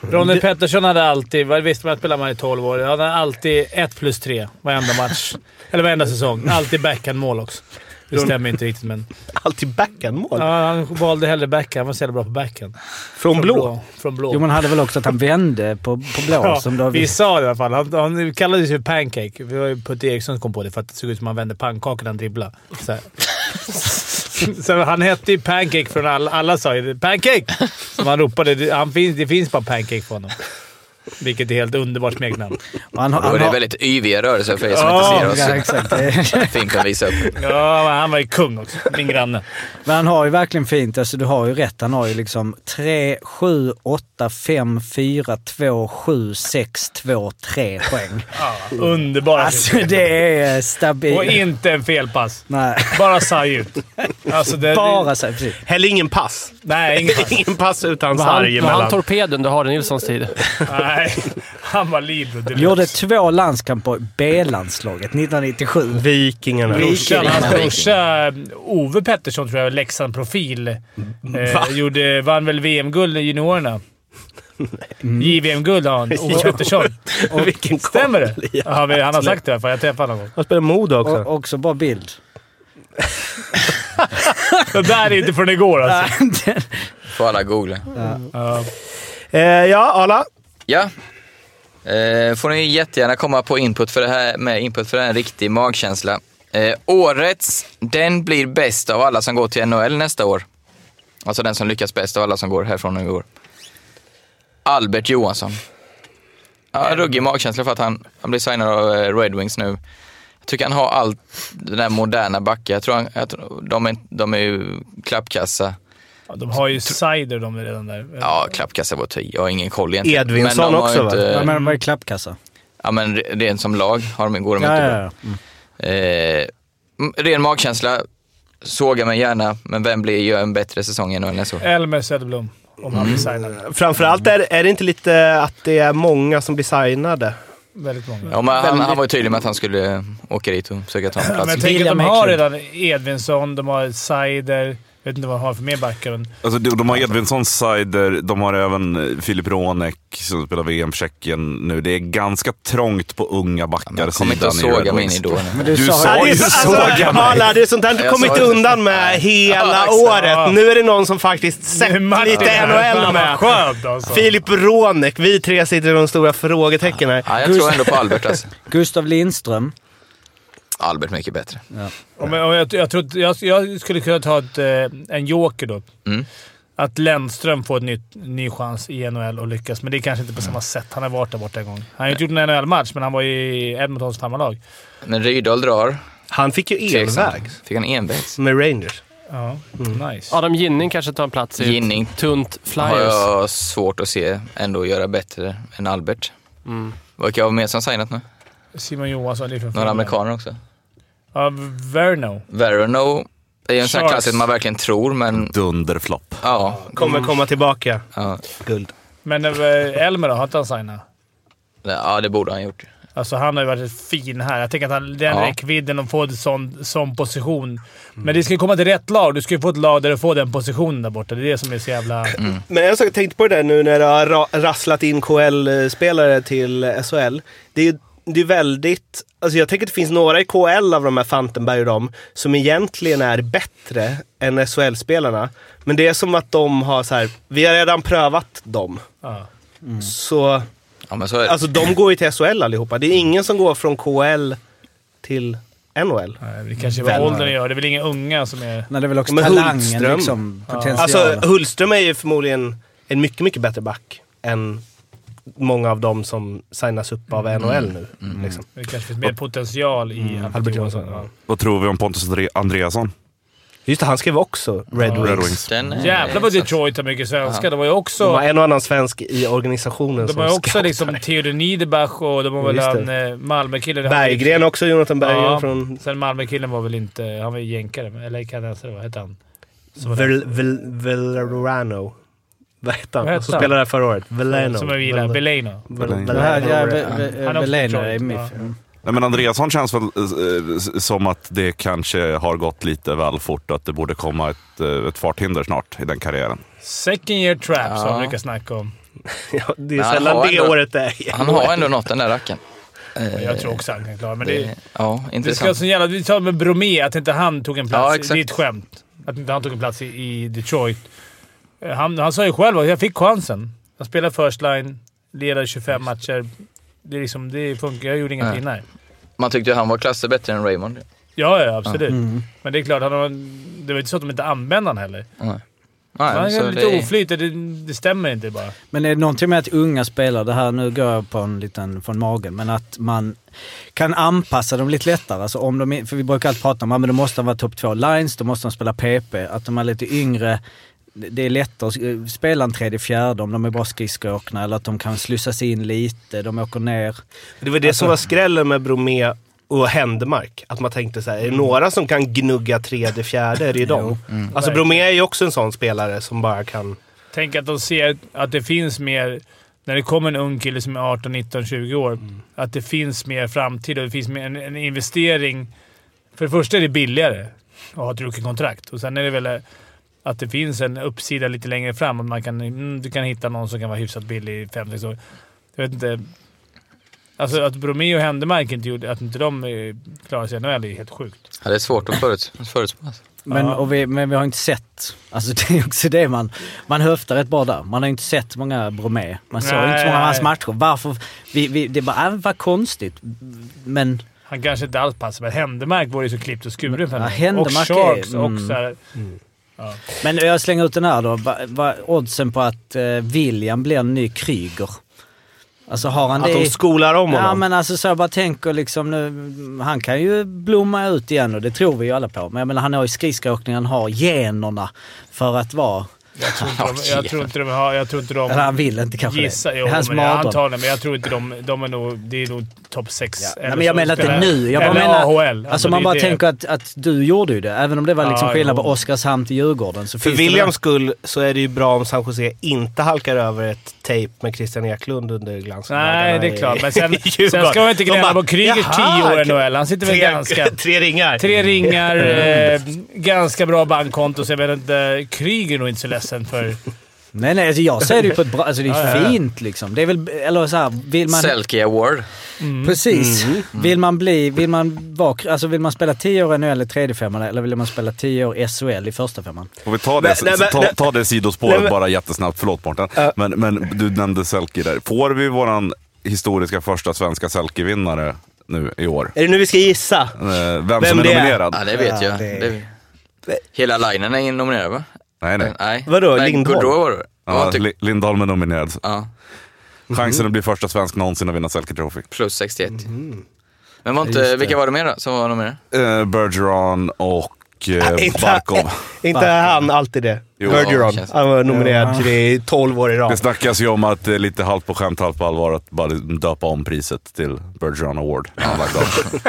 A: Ronny Pettersson hade alltid, vad visste man att spelade man i 12 år, han hade alltid 1 plus 3 varenda match. Eller varenda säsong. Alltid backhand-mål också. Det stämmer inte riktigt, men...
C: Alltid backhandmål.
A: Ja, han valde hellre backhand. Han var så jävla bra på backhand.
C: Från blå.
A: Från blå.
B: jo men hade väl också att han vände på, på blå
A: Ja,
B: som då...
A: vi sa det i alla fall. Han, han kallades ju Pancake. Vi var ju Putte Eriksson som kom på det för att det såg ut som att han vände pannkakor när han dribblade. Så, här. så han hette ju Pancake från alla. Alla sa ju det. “Pancake!” som han ropade. Det- Han finns, det finns bara Pancake på honom. Vilket är helt underbart smeknamn.
B: Och han, har-
J: Då är
B: han
J: det
B: har-
J: väldigt yviga rörelser för er som
A: Ja,
J: inte
B: Ja,
J: ser oss.
B: exakt. Det-
J: Fimpen visar upp.
A: Ja, men han var ju kung också. Min granne.
B: Men han har ju verkligen fint, alltså du har ju rätt. Han har ju liksom 3, 7, 8, 5, 4, 2, 7, 6, 2, 3 poäng.
A: Ja, underbar.
B: Alltså det är stabilt.
A: Och inte en felpass.
B: Nej,
A: Bara sarg ut. Alltså, det,
B: bara så. här, Precis.
C: Heller ingen pass.
A: Nej, ingen pass.
C: ingen pass utan
H: Var han,
C: sarg
H: var han
C: emellan.
H: torpeden du har i Nilssons tid?
A: Nej, Nej, han var libero direkt.
B: Gjorde två landskamper i B-landslaget 1997.
C: Vikingarna.
A: Brorsan, hans
J: Viking.
A: brorsa Ove Pettersson tror jag, Leksand-profil, eh, gjorde, vann väl VM-guld i juniorerna. JVM-guld har han, Ove Pettersson.
C: Och vilken
A: Stämmer det?
C: koppling.
A: Ja, men han har sagt det, för jag träffade honom.
C: Han spelar Modo också.
B: Och också bra bild.
A: Det där är inte från igår alltså.
J: Får alla googla.
A: Ja.
C: Eh, ja, Arla.
J: Ja. Eh, får ni jättegärna komma på input för det här med input för det här är en riktig magkänsla. Eh, årets, den blir bäst av alla som går till NHL nästa år. Alltså den som lyckas bäst av alla som går härifrån nu i år. Albert Johansson. Ja, ruggig magkänsla för att han, han blir signad av eh, Red Wings nu. Jag tycker han har allt, den där moderna backen. Jag tror han, jag tror, de, är, de är ju klappkassa.
A: De har ju cider de redan där.
J: Ja, klappkassa var tio. Jag har ingen koll egentligen.
C: Edvinsson
J: de har
C: också,
J: ju
C: va?
J: inte-
B: Jag menar, de var ju klappkassa.
J: Ja men re- rent som lag har de, går de
B: Ja,
J: inte
B: ja,
J: bra.
B: ja.
J: Eh, m- ren magkänsla, såga mig gärna, men vem blir gör en bättre säsong än än så?
A: Elmer Söderblom, om han blir signad.
C: Mm. Framförallt är, är det inte lite att det är många som blir signade?
A: Väldigt många.
J: Ja, men han, han var ju tydlig med att han skulle eh, åka dit och försöka ta en
A: Men
J: plats.
A: jag tänker att
B: William
A: de har
B: Hägglund.
A: redan Edvinsson, de har cider. Jag vet inte vad de har för mer backar. men-
I: Alltså, de, de har Edvinsson, Seider, de har även eh, Filip Ronek som spelar VM för Tjeckien nu. Det är ganska trångt på unga backar
J: Kom inte och såga mig in i då.
B: Men
I: Du sa
C: Ja, det
I: ju
C: är så- alltså,
I: såga mig.
C: Arla, det är sånt där du
J: Jag
C: kommit
J: sa det.
C: undan med hela
J: Ja, exakt.
C: året. Nu är det någon som faktiskt sett lite NHL
A: Fan, vad
C: med.
A: skönt alltså.
C: Filip Ronek. Vi tre sitter i de stora frågetecken här.
J: Ja, jag tror ändå på Albert alltså.
B: Gustav Lindström.
J: Albert mycket bättre.
A: Om jag, om jag, jag, tror, att- jag, jag skulle kunna ta ett, eh, en joker då.
J: Mm.
A: Att Lennström får en ny, ny chans i NHL och lyckas, men det är kanske inte på
J: Mm.
A: samma sätt. Han har varit där borta en gång. Han har ju inte gjort en NHL-match, men han var ju i Edmontons farmarlag.
J: Men Rydahl drar.
C: Han fick ju
J: Tveksam.
C: elvägs
J: Fick han envägs?
C: med Rangers.
A: Ja,
J: Mm.
A: nice.
H: Adam Ginning kanske tar en plats i
J: Ginning.
H: ett tunt Flyers.
J: Har jag svårt att se ändå göra bättre än Albert.
B: Mm.
J: Vilka har vi mer som signat nu?
A: Simon Johansson, det är för fan.
B: Mm.
J: Några amerikaner också?
A: Ja, Verno.
J: Verano är ju en sån här
A: Sharks.
J: klassiker man verkligen tror, men
I: Dunderflopp.
J: ja.
C: Kommer komma tillbaka.
J: Ja,
C: Guld.
A: Men eh, Elmer då? Har inte han signat?
J: ja det borde han gjort.
A: Alltså han har ju varit fin här. Jag tänker att han, den
J: Ja. Mm.
A: räckvidden och få en sån, sån position. Men det ska ju komma till rätt lag. Du ska ju få ett lag där du får den positionen där borta. Det är det som är så jävla...
J: Mm.
C: Men en sak jag tänkte på det där nu när det har ra- rasslat in KL-spelare till SHL. Det är ju det är väldigt... Alltså jag tänker att det finns några i KL av de här Fantenberg och dem som egentligen är bättre än SHL-spelarna. Men det är som att de har så här, vi har redan prövat dem.
A: Ja.
C: Så,
J: Ja, men så är det.
C: alltså de går ju till SHL allihopa. Det är ingen som går från KL till NHL.
A: Nej, Det kanske är vad
C: Väl-
A: åldern gör. Det är väl inga unga som är...
B: Nej, det är väl också
C: Men
B: talangen
C: Hultström.
B: liksom. Potentialen.
C: Alltså Hultström är ju förmodligen en mycket, mycket bättre back än många av dem som signas upp av NHL nu. Liksom.
A: Det kanske finns mer potential i
C: Albert Mm, Johansson.
A: Ja.
I: Vad tror vi om Pontus Andre- Andreasson?
C: Just det, han skrev också Red
I: Red
C: Wings.
I: Wings.
J: Den är- Alltså,
A: Jävlar vad Detroit har mycket svenskar. De var ju
C: De
A: också...
C: har en och annan svensk i organisationen
A: De
C: som
A: har ju också
C: scoutar.
A: liksom Theodor Niederbach och de har väl
C: Just
A: en
C: det.
A: eh, Malmökille.
C: Berggren också, Jonathan Berggren
A: Ja.
C: från
A: Sen Malmökillen var väl inte... Han var ju jänkare, eller kanadensare. Vad hette han? Som var där.
C: Vel- Vel- Velerano. Vad hette
A: Vad
C: han?
A: hette
C: Som
A: han?
C: spelade där förra året. Veleno.
A: Som jag gillar.
C: Vel-
A: Beleno.
C: Vel-
B: Det här, ja, Ve-
C: Veleno.
B: Ve-
A: Han är också
B: Veleno är
A: Detroit,
B: miff.
A: ja.
I: Nej, men Andreasson känns väl eh, s- som att det kanske har gått lite väl fort och att det borde komma ett, eh, ett farthinder snart i den karriären.
A: Second year trap, som
J: Ja.
A: man brukar snacka om.
C: Ja, Det är
J: Men han
C: sällan
J: har
C: det
J: ändå-
C: året är.
J: Han har ändå nått den där racken.
A: Jag tror också han kan klara men det.
J: Det, ja,
A: Det ska alltså-
J: intressant.
A: så jävla... Vi tar med Bromé, att inte han tog en
J: Ja,
A: plats.
J: exakt.
A: det är ett skämt. Att inte han tog en plats i, i Detroit. Eh, Han, han sa ju själv att jag fick chansen. Jag spelade first line, ledade 25 matcher. Det, är liksom, det funkar. Jag gjorde ingenting. Nej.
J: Man tyckte ju han var klasser bättre än Raymond.
A: Ja, ja, absolut. Men det är klart, han har, det var inte så att de inte använde han heller.
J: Nej,
A: han
J: så
A: är lite
J: det-
A: oflyt. Det, det stämmer inte bara.
B: Men är det någonting med att unga spelare, det här nu går jag på en liten från magen, men att man kan anpassa dem lite lättare. Alltså om de, är- för vi brukar alltid prata om att de måste vara topp två lines, då måste de spela PP. Att de är lite yngre, det är lättare att s- eh, spela en tredje, fjärde om de är bra skridskoåkna eller att de kan slussas in lite, de åker ner.
C: Det var det
A: Alltså-
C: som var skrällen med Bromé och Händemark. Att man tänkte så här,
A: Mm.
C: är det några som kan gnugga tredje, fjärde, är det ju dem. Alltså Bromé är ju också en sån spelare som bara kan...
A: Tänk att de ser att det finns mer när det kommer en ung kille som är 18, 19, 20 år,
B: Mm.
A: att det finns mer framtid och det finns mer, en, en investering. För det första är det billigare att ha ett rookie-kontrakt och sen är det väl eh, att det finns en uppsida lite längre fram. Att man kan, mm, du kan hitta någon som kan vara hyfsat billig i 5-6 år. Jag vet inte. Alltså att Bromé och Händemark inte gjorde, att inte de eh, klarade sig i NHL är helt sjukt.
J: Ja, det är svårt att föruts- förutspå. alltså.
B: Men,
A: Ja.
B: och vi, men vi har inte sett, alltså det är också det man, man höftar rätt bra där. Man har inte sett många Bromé. Man såg
A: Nej,
B: inte så många av hans
A: nej.
B: matcher. Varför? Vi, vi, det bara, äh, vad konstigt. Men
A: Han kanske inte alls passar, men Händemark var ju så klippt och skuren för
B: Ja,
A: honom. och
B: Händemark är-
A: Sharks
B: mm.
A: och så här.
B: Men jag slänger ut den här då. Va, va, oddsen på att eh, William blir en ny Kryger. Alltså har han
C: Att
B: det...
C: de
B: i-
C: skolar om honom.
B: Ja men alltså så jag bara tänker liksom nu, han kan ju blomma ut igen och det tror vi ju alla på. Men jag menar han har ju skridskoåkning, han har generna för att vara...
A: Jag tror inte de, jag tror inte de har... Jag tror inte de...
B: Eller han vill inte kanske
A: Gissa,
B: det.
A: jo,
B: Det är hans
A: men jag
B: mardröm.
A: antar det, men jag tror inte de... de är nog, det är nog topp 6.
B: Ja. Nej, men jag menar inte nu. Jag bara
A: eller
B: menar,
A: AHL.
B: Alltså man
A: det är
B: bara
A: det.
B: tänker att, att du gjorde ju det. Även om det var liksom
A: Ja,
B: skillnad
A: jo.
B: på Oskarshamn till Djurgården. Så
C: För
B: finns det väl-
C: Williams skull så är det ju bra om San Jose inte halkar över ett tejp med Christian Eklund under glansen.
A: Nej, det är klart. Men sen, sen ska vi inte
C: De bara,
A: gnälla på Krygers 10
C: "Jaha,
A: år i NHL. Han sitter väl ganska...
C: Tre, tre ringar.
A: Tre ringar, eh, ganska bra bankkonto, så jag vet inte. Kryger är nog inte så ledsen för...
B: Nej, nej, alltså jag ser det ju på ett bra... Alltså det är
A: Ja, ja, ja.
B: fint liksom. Det är väl... Eller så här, vill man...
J: Selke Award.
B: Precis.
C: Mm.
B: Mm. Vill man bli, vill man vara, alltså vill man spela 10 år i NHL i tredje femman eller vill man spela 10 år SHL i första femman?
I: Får vi ta
C: Men-
I: det,
C: nej,
I: så,
C: men-
I: ta,
C: nej.
I: ta det sidospåret
C: Nej, men-
I: bara jättesnabbt. Förlåt Mårten. Men, men du nämnde Selke där. Får vi våran historiska första svenska Selke-vinnare nu i år?
C: Är det nu vi ska gissa?
I: Eh, Vem,
C: Vem
I: som är
C: det är?
I: nominerad?
J: Ja, det vet
B: Ja,
J: jag.
B: det-
J: Det... Hela linen är nominerad va?
I: Nej, nej.
J: Nej.
C: Vadå,
J: Nej,
C: Lindholm?
J: Gaudreau var det. Ja,
I: Ja,
J: tyck-
I: Li- Lindholm är nominerad.
J: ja,
C: Mm.
I: Chansen att bli första svensk någonsin att vinna Selke Trophy.
J: plus 61. Men var inte, vilka var det mer då som var nominerade?
I: Eh, Bergeron och eh,
C: Äh, inte-
I: Barkov.
C: Inte han alltid det?
I: Jo,
C: Bergeron.
J: känns-
C: Han var nominerad till det i 12 år i
I: Det
C: rad.
I: snackas ju om att det är lite halvt på skämt, halvt på allvar att bara döpa om priset till Bergeron Award. Ja, lagt av.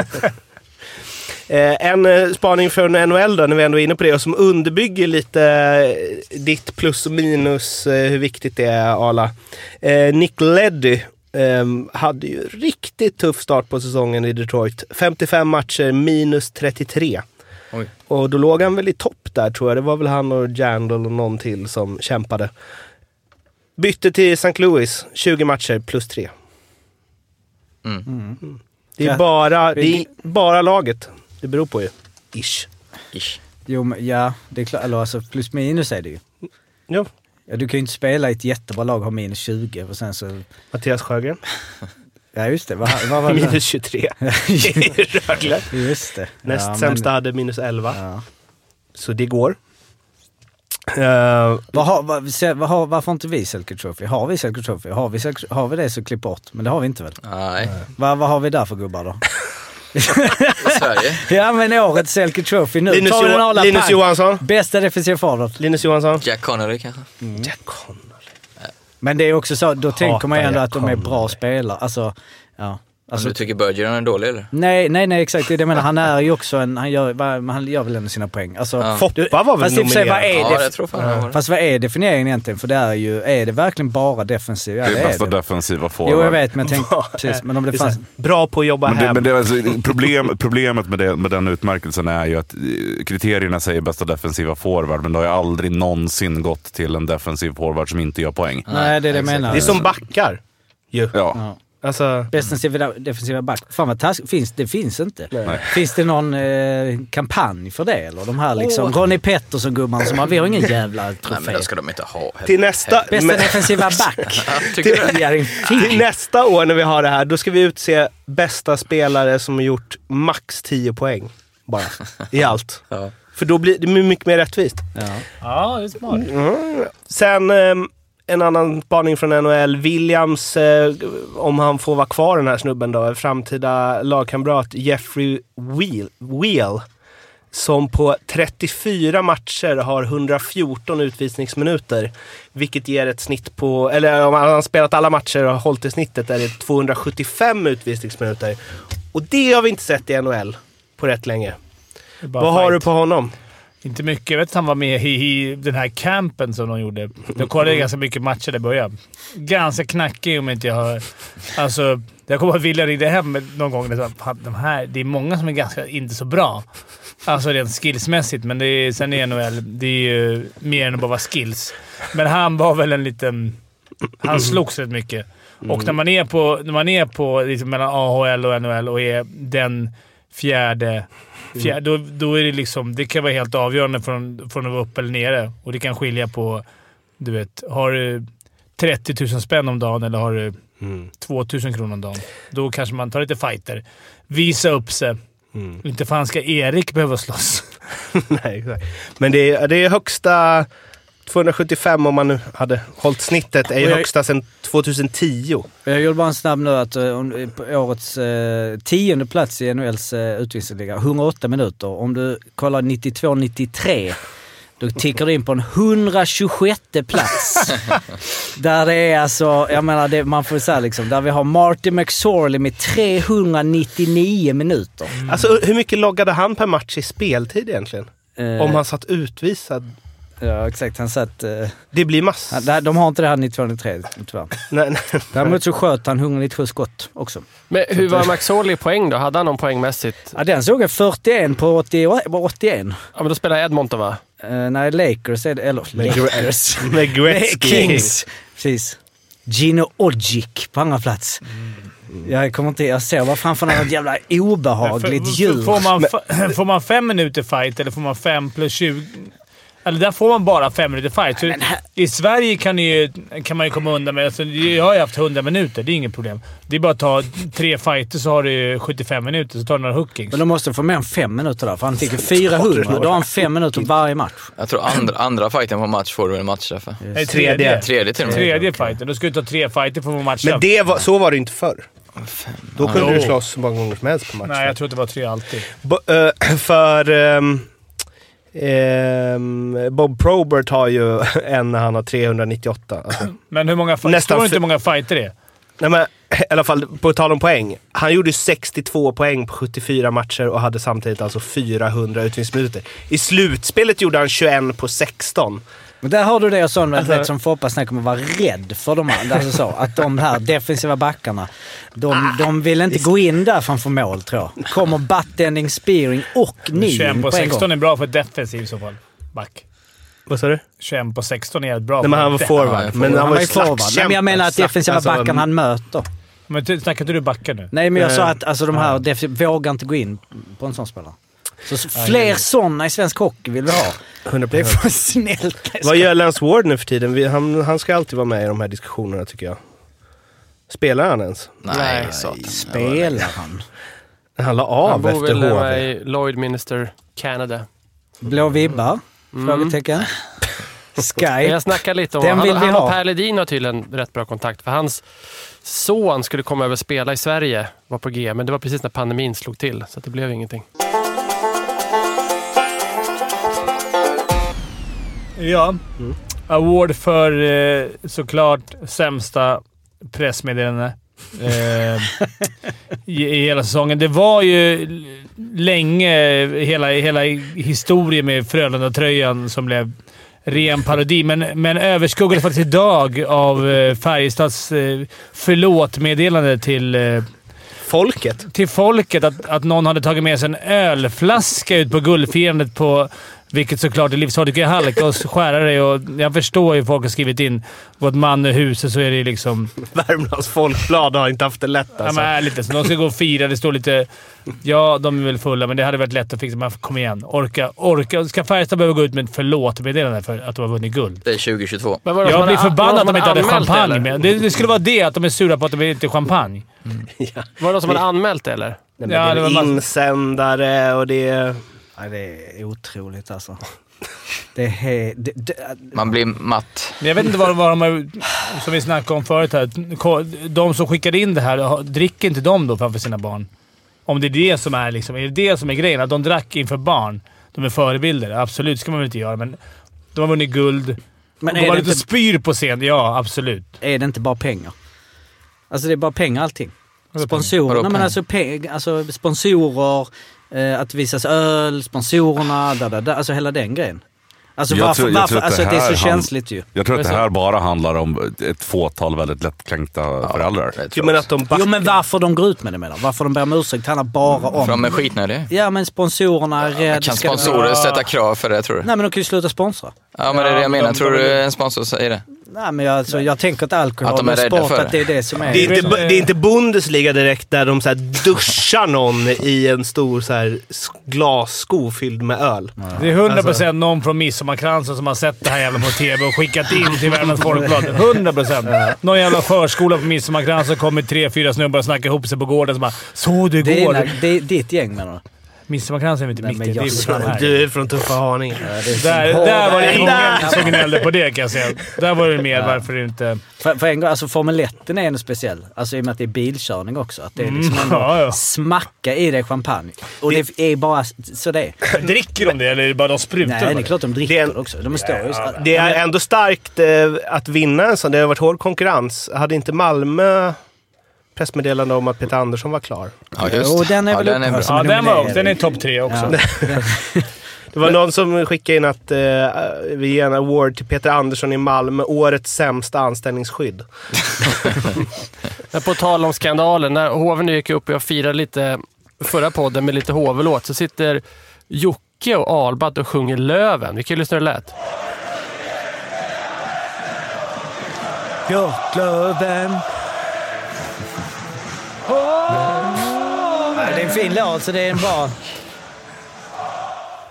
C: Eh, en eh, spaning från NHL då, när vi ändå är inne på det, och som underbygger lite eh, ditt plus och minus, eh, hur viktigt det är, Arla. Eh, Nick Leddy eh, hade ju riktigt tuff start på säsongen i Detroit. 55 matcher, minus 33.
J: Oj.
C: Och då låg han väl i topp där tror jag. Det var väl han och Jandal och någon till som kämpade. Bytte till St. Louis, 20 matcher, plus 3.
J: Mm.
C: Det är
B: Ja.
C: bara, det är bara laget det beror på ju. Ish.
J: Ish.
B: Jo, men ja, det är klart. Eller alltså plus minus är det ju.
C: Ja.
B: Ja, du kan ju inte spela i ett jättebra lag och ha minus 20 och sen så...
C: Mattias Sjögren.
B: Ja, just det. Vad, vad var det?
C: Minus 23
B: Ju-
C: i Rögle.
B: just det.
C: Näst
B: ja,
C: sämsta hade minus 11.
B: Men, ja.
C: Så det går. Eh,
B: vad har, vad, se- vad har, varför har inte vi Selke Trophy? Har vi Selke Trophy? Har vi, Selke, har vi det så klipp bort. Men det har vi inte väl?
J: Nej,
B: Vad, vad har vi där för gubbar då?
J: i Sverige.
B: ja, men årets Selke Trophy nu.
C: Linus,
B: Tar vi den
C: Johan-
B: alla
C: Linus
B: pang.
C: Johansson.
B: Bästa defensiv forward.
C: Linus Johansson.
J: Jack Connery kanske?
C: Jack Connolly.
B: Men det är också så, då tänker man ju ändå
C: jag
B: att de är
C: kommer.
B: bra spelare. Alltså, ja.
J: Alltså,
B: Alltså,
J: du tycker Bergeron är dålig eller?
B: nej, nej, nej, exakt. Det är det jag menar. Han är ju också en, han gör, va- han gör väl ändå sina poäng. Alltså,
J: Ja.
C: Foppa var väl
B: fast i och för sig, vad
C: nominerad?
B: är
J: Ja,
B: det-
J: jag tror fan han var det.
B: Fast vad är definieringen egentligen? För det är ju, är det verkligen bara defensiv? Ja,
I: Det är bästa
B: det.
I: defensiva forward.
B: Jo, jag vet, men tänk, precis. Men om det
C: Det är så
B: fanns...
C: här, Bra på att jobba
I: Men, det,
C: hem.
I: men det, är alltså, problem, problemet med, det, med den utmärkelsen är ju att eh, kriterierna säger bästa defensiva forward, men det har ju aldrig någonsin gått till en defensiv forward som inte gör poäng.
B: Nej, det är det jag menar.
C: det är som backar. Ju.
I: Ja.
C: Alltså,
B: Defensiva, defensiva back. Fan vad taskigt. Finns, det finns inte.
I: Nej.
B: Finns det någon eh, kampanj för det? Eller de här liksom, Ronnie Pettersson-gubbarna som har, vi har ingen jävla
J: Nej, men
B: trofé.
J: det ska de inte ha.
C: till nästa...
B: Bästa
C: men-
B: defensiva back.
J: Tycker du?
B: Ja, det är en
C: Till
B: fin.
C: nästa år när vi har det här, då ska vi utse bästa spelare som har gjort max 10 poäng. Bara. I allt.
J: Ja.
C: För då blir det mycket mer rättvist.
B: Ja.
A: Ja, det är smart.
C: Sen ehm, en annan spaning från NHL. Williams, eh, om han får vara kvar den här snubben då, framtida lagkamrat Jeffrey Wheel, Wheel som på 34 matcher har 114 utvisningsminuter. Vilket ger ett snitt på, eller om han har spelat alla matcher och hållit i snittet är det 275 utvisningsminuter. Och det har vi inte sett i NHL på rätt länge.
A: Det är bara
C: Vad har du
A: fight.
C: på honom?
A: Inte mycket. Jag vet att han var med i, i den här campen som de gjorde. Då kollade jag ganska mycket matcher där i början. Ganska knackig om inte jag har... Alltså, jag kommer att vilja ringde hem någon gång och sa "Fan, de här, det är många som är ganska inte så bra. Alltså rent skillsmässigt, men det är, sen är NHL det är ju mer än att bara vara skills. Men han var väl en liten... Han slogs rätt mycket. Och när man är på, när man är på liksom mellan AHL och NHL och är den fjärde... fjärde då, då är det liksom... Det kan vara helt avgörande från, från att vara uppe eller nere. Och det kan skilja på... Du vet, har du 30 000 spänn om dagen eller har du 2 000 kronor om dagen? Då kanske man tar lite fighter. Visa upp sig. Inte fan ska Erik behöva slåss.
C: Nej, exakt. Men det är, det är högsta... 275 om man nu hade hållit snittet är ju
B: Och jag-
C: högsta sedan 2010.
B: Jag gjorde bara en snabb nu att eh, om, på årets eh, tionde plats i NHLs eh, utvisningsliga, 108 minuter. Om du kollar 92-93, då tickar du in på en 126 plats. där det är alltså, jag menar, det, man får säga liksom, där vi har Martin McSorley med 399 minuter.
C: Alltså hur mycket loggade han per match i speltid egentligen?
B: Eh,
C: Om han satt utvisad?
B: Ja, exakt. Han satt... Eh,
C: Det blir massor.
B: nej, de har inte det här 92-93, tyvärr.
C: Nej, nej.
B: Däremot så sköt han 197 skott också.
H: Men hur var McSorley i poäng då? Hade han någon poängmässigt?
B: Ja, den såg jag 41 på 80, på 81.
H: Ja, men då spelar Edmonton va?
B: Eh, nej, Lakers är det. Eller Lakers.
C: Med Gretzky.
B: Kings. Precis. Gino Ogic på andra plats.
A: Mm.
B: Jag kommer inte... Jag ser bara framför mig något jävla obehagligt
A: För-
B: djur.
A: Får man, fa- får man fem minuter fight eller får man fem plus 20? Eller där får man bara fem minuter fight. Så I Sverige kan, ni ju, kan man ju komma undan med... Alltså, jag har ju haft 100 minuter. Det är inget problem. Det är bara att ta tre fighter så har du 75 minuter, så tar du några hookings.
B: Men de måste få mer än fem minuter där, för han fick ju 400. Då har han fem minuter varje match.
J: Jag tror andra, andra fighten på match får du en matchstraff för.
A: Nej,
C: Tredje.
J: Tredje till och med.
A: Tredje fighten. Då ska du ta tre fighter för att få matchen.
C: Men det var, så var det inte förr. Då kunde
A: Jo.
C: du slåss hur många gånger som helst på matchen.
A: Nej, jag tror att det var tre alltid.
C: Bo- eh, för ehm, ehm, Bob Probert har ju en när han har 398. Alltså.
A: Men hur många fighter?
C: Nästan
A: Står det inte
C: fy-
A: hur många fighter det är?
C: Nej, men, I alla fall, på tal om poäng. Han gjorde 62 poäng på 74 matcher och hade samtidigt alltså 400 utvisningsminuter. I slutspelet gjorde han 21 på 16.
B: Men där har du det jag sa om att vet, som Foppa snackade om att vara rädd för de andra. Alltså så, att de här defensiva backarna, de, de vill inte gå in där framför mål tror jag. Kommer buttending, spearing och
A: 21
B: kniving
A: på
B: på en
A: 16
B: gång.
A: är bra för defensiv i så fall. Back.
C: Vad sa du?
A: 21 på 16 är bra.
C: Nej, men han var
A: för-
J: Ja,
C: forward.
J: jag
C: Men
B: Han
C: han var
B: var ju
C: ju
B: forward. Nej, men jag menar att
C: slagskämpe,
B: defensiva
C: alltså,
B: backarna han möter.
A: Men ty- snackar inte du backar nu?
B: Nej, men jag
C: Eh,
B: sa att alltså, de här defensiva vågar inte gå in på en sån spelare. Så s- fler sådana i svensk hockey vill vi ha.
C: 100
B: Det är för snällt.
C: Vad gör Lance Ward nu för tiden? Vi- Han, han ska alltid vara med i de här diskussionerna tycker jag. Spelar han ens?
J: Nej, satan.
B: Spelar han?
C: Han la av
H: han bor
C: efter
H: väl
C: HV.
H: eh, i Lloydminster, Canada.
B: Blå vibbar? Frågetecken. Sky.
H: Jag snackade lite om...
B: Den
H: han
B: vill vi
H: han och
B: ha.
H: Per Ledin har tydligen rätt bra kontakt. För hans son skulle komma över och spela i Sverige. Var på G, men det var precis när pandemin slog till. Så att det blev ingenting.
A: Ja. Award för eh, såklart sämsta pressmeddelande eh, i, i hela säsongen. Det var ju l- länge hela, hela historien med Frölunda-tröjan som blev ren parodi, men, men överskuggades faktiskt idag av eh, Färjestads eh, förlåt-meddelande till eh,
C: Folket.
A: till folket att, att någon hade tagit med sig en ölflaska ut på guldfirandet på... Vilket såklart är livsfarligt. Du kan ju halka och skära dig och jag förstår ju folk har skrivit in. Vårt man i huset så är det ju liksom...
C: Värmlands Folkblad har inte haft det lätt
A: Ja,
C: alltså.
A: men ärligt alltså. De ska gå och fira. Det står lite... Ja, de är väl fulla, men det hade varit lätt att fixa. Men kom igen. Orka. orka. Ska Färjestad behöva gå ut med ett förlåt-meddelande för att de har vunnit guld?
J: Det är 2022.
H: Men var det
A: Jag
H: någon som
A: blir
H: hade-
A: förbannad
H: var
A: att de
H: det någon
A: inte hade
H: som anmält det,
A: champagne
H: eller?
A: med. Det, det skulle vara det, att de är sura på att de inte är champagne.
H: Var det någon som hade anmält det eller?
C: Nej, men
A: Ja,
C: det
A: det
C: är
A: var mass-
C: insändare och det är...
B: Ja, det är otroligt alltså. Det är... he- Det, det,
J: Man blir matt.
A: Men jag vet inte vad, vad de har... Som vi snackade om förut här. ko- De som skickade in det här, har- dricker inte de då framför sina barn? Om det är det som är liksom, är det det som är grejen. Att de drack inför barn. De är förebilder. Absolut ska man väl inte göra, men de har vunnit guld.
B: Men
A: Men
B: är
A: de har
B: det
A: lite
B: inte-
A: spyr på scen. Ja, absolut.
B: är det inte bara pengar? Alltså det är bara pengar allting.
A: Vadå pengar?
B: Sponsorer,
J: Vadå
B: nej, men
J: pengar?
B: alltså, pe- alltså sponsorer, eh, att det visas öl, sponsorerna, da, da, da, alltså hela den grejen. Alltså
I: Jag
B: varför,
I: tror- jag
B: varför
I: tror att det
B: alltså det, är
I: här
B: så
I: hand-
B: känsligt ju.
I: Jag tror att det
H: Men så-
I: här bara handlar om ett fåtal väldigt lättkränkta föräldrar.
J: Jag
C: Jo,
J: tror
C: men
J: också.
C: att de
B: Jo
C: backar.
B: men varför de går ut med det menar jag. Varför de ber om ursäkt handlar bara om...
J: För de är skitnödiga.
B: Ja men sponsorerna är rädda.
J: Kan
B: Ska de-
J: sponsorer sätta krav för det tror du?
B: Nej men de kan ju sluta sponsra.
J: Ja men det är det jag menar. Tror du en sponsor säger det?
B: Nej men jag, alltså, jag tänker att alkohol
J: Att de är
B: och
J: rädda
B: sport,
J: för
B: att det är det som är...
C: Det är, inte, det är inte Bundesliga direkt där de så här duschar någon i en stor så här s- glassko fylld med öl.
A: Det är 100% någon från Midsommarkransen som har sett det här jävla på TV och skickat in till Värmlands Folkblad. 100%! Någon jävla förskola på Midsommarkransen kommer tre, fyra snubbar och snackar ihop sig på gården som bara “Såg du
B: Det är,
A: igår?”
B: dina- det är ditt gäng menar du?
A: Midsommarkransen är väl inte
B: Nej,
A: mitt
B: men
A: i? Det är ju
B: jag
A: för fan
B: såg-
A: här.
C: Du är från tuffa Haninge.
A: Där, där var det
C: Där!
A: ingen som gnällde på det kan jag säga. Där var det mer varför det inte...
B: För, för en gång, alltså Formel 1 är ändå speciell. Alltså i och med att det är bilkörning också. Att det är liksom
A: Mm,
B: ändå
A: ja, ja.
B: smacka i dig champagne. Och det, är bara s- så det är.
A: Dricker de det eller är det bara de sprutar?
B: Nej, det är klart de dricker
C: Det är-
B: också. De står ju så-
C: Det är ändå starkt eh, att vinna en sån. Det har varit hård konkurrens. Hade inte Malmö pressmeddelande om att Peter Andersson var klar?
J: Ja just
B: Jo, den är
J: ja,
B: väl
J: den är
B: upphörs.
J: bra.
A: Ja, den var
B: nominerade.
A: också. Den är topp tre också.
B: Ja.
C: Det var någon som skickade in att eh, vi ger en award till Peter Andersson i Malmö. Årets sämsta anställningsskydd.
H: Men på tal om skandalen, när hoven gick upp och jag firade lite förra podden med lite hovelåt så sitter Jocke och Albat och sjunger Löven. Vi kan ju lyssna hur det lät.
B: Björklöven. Ja, Det är en fin låt, så det är en bra...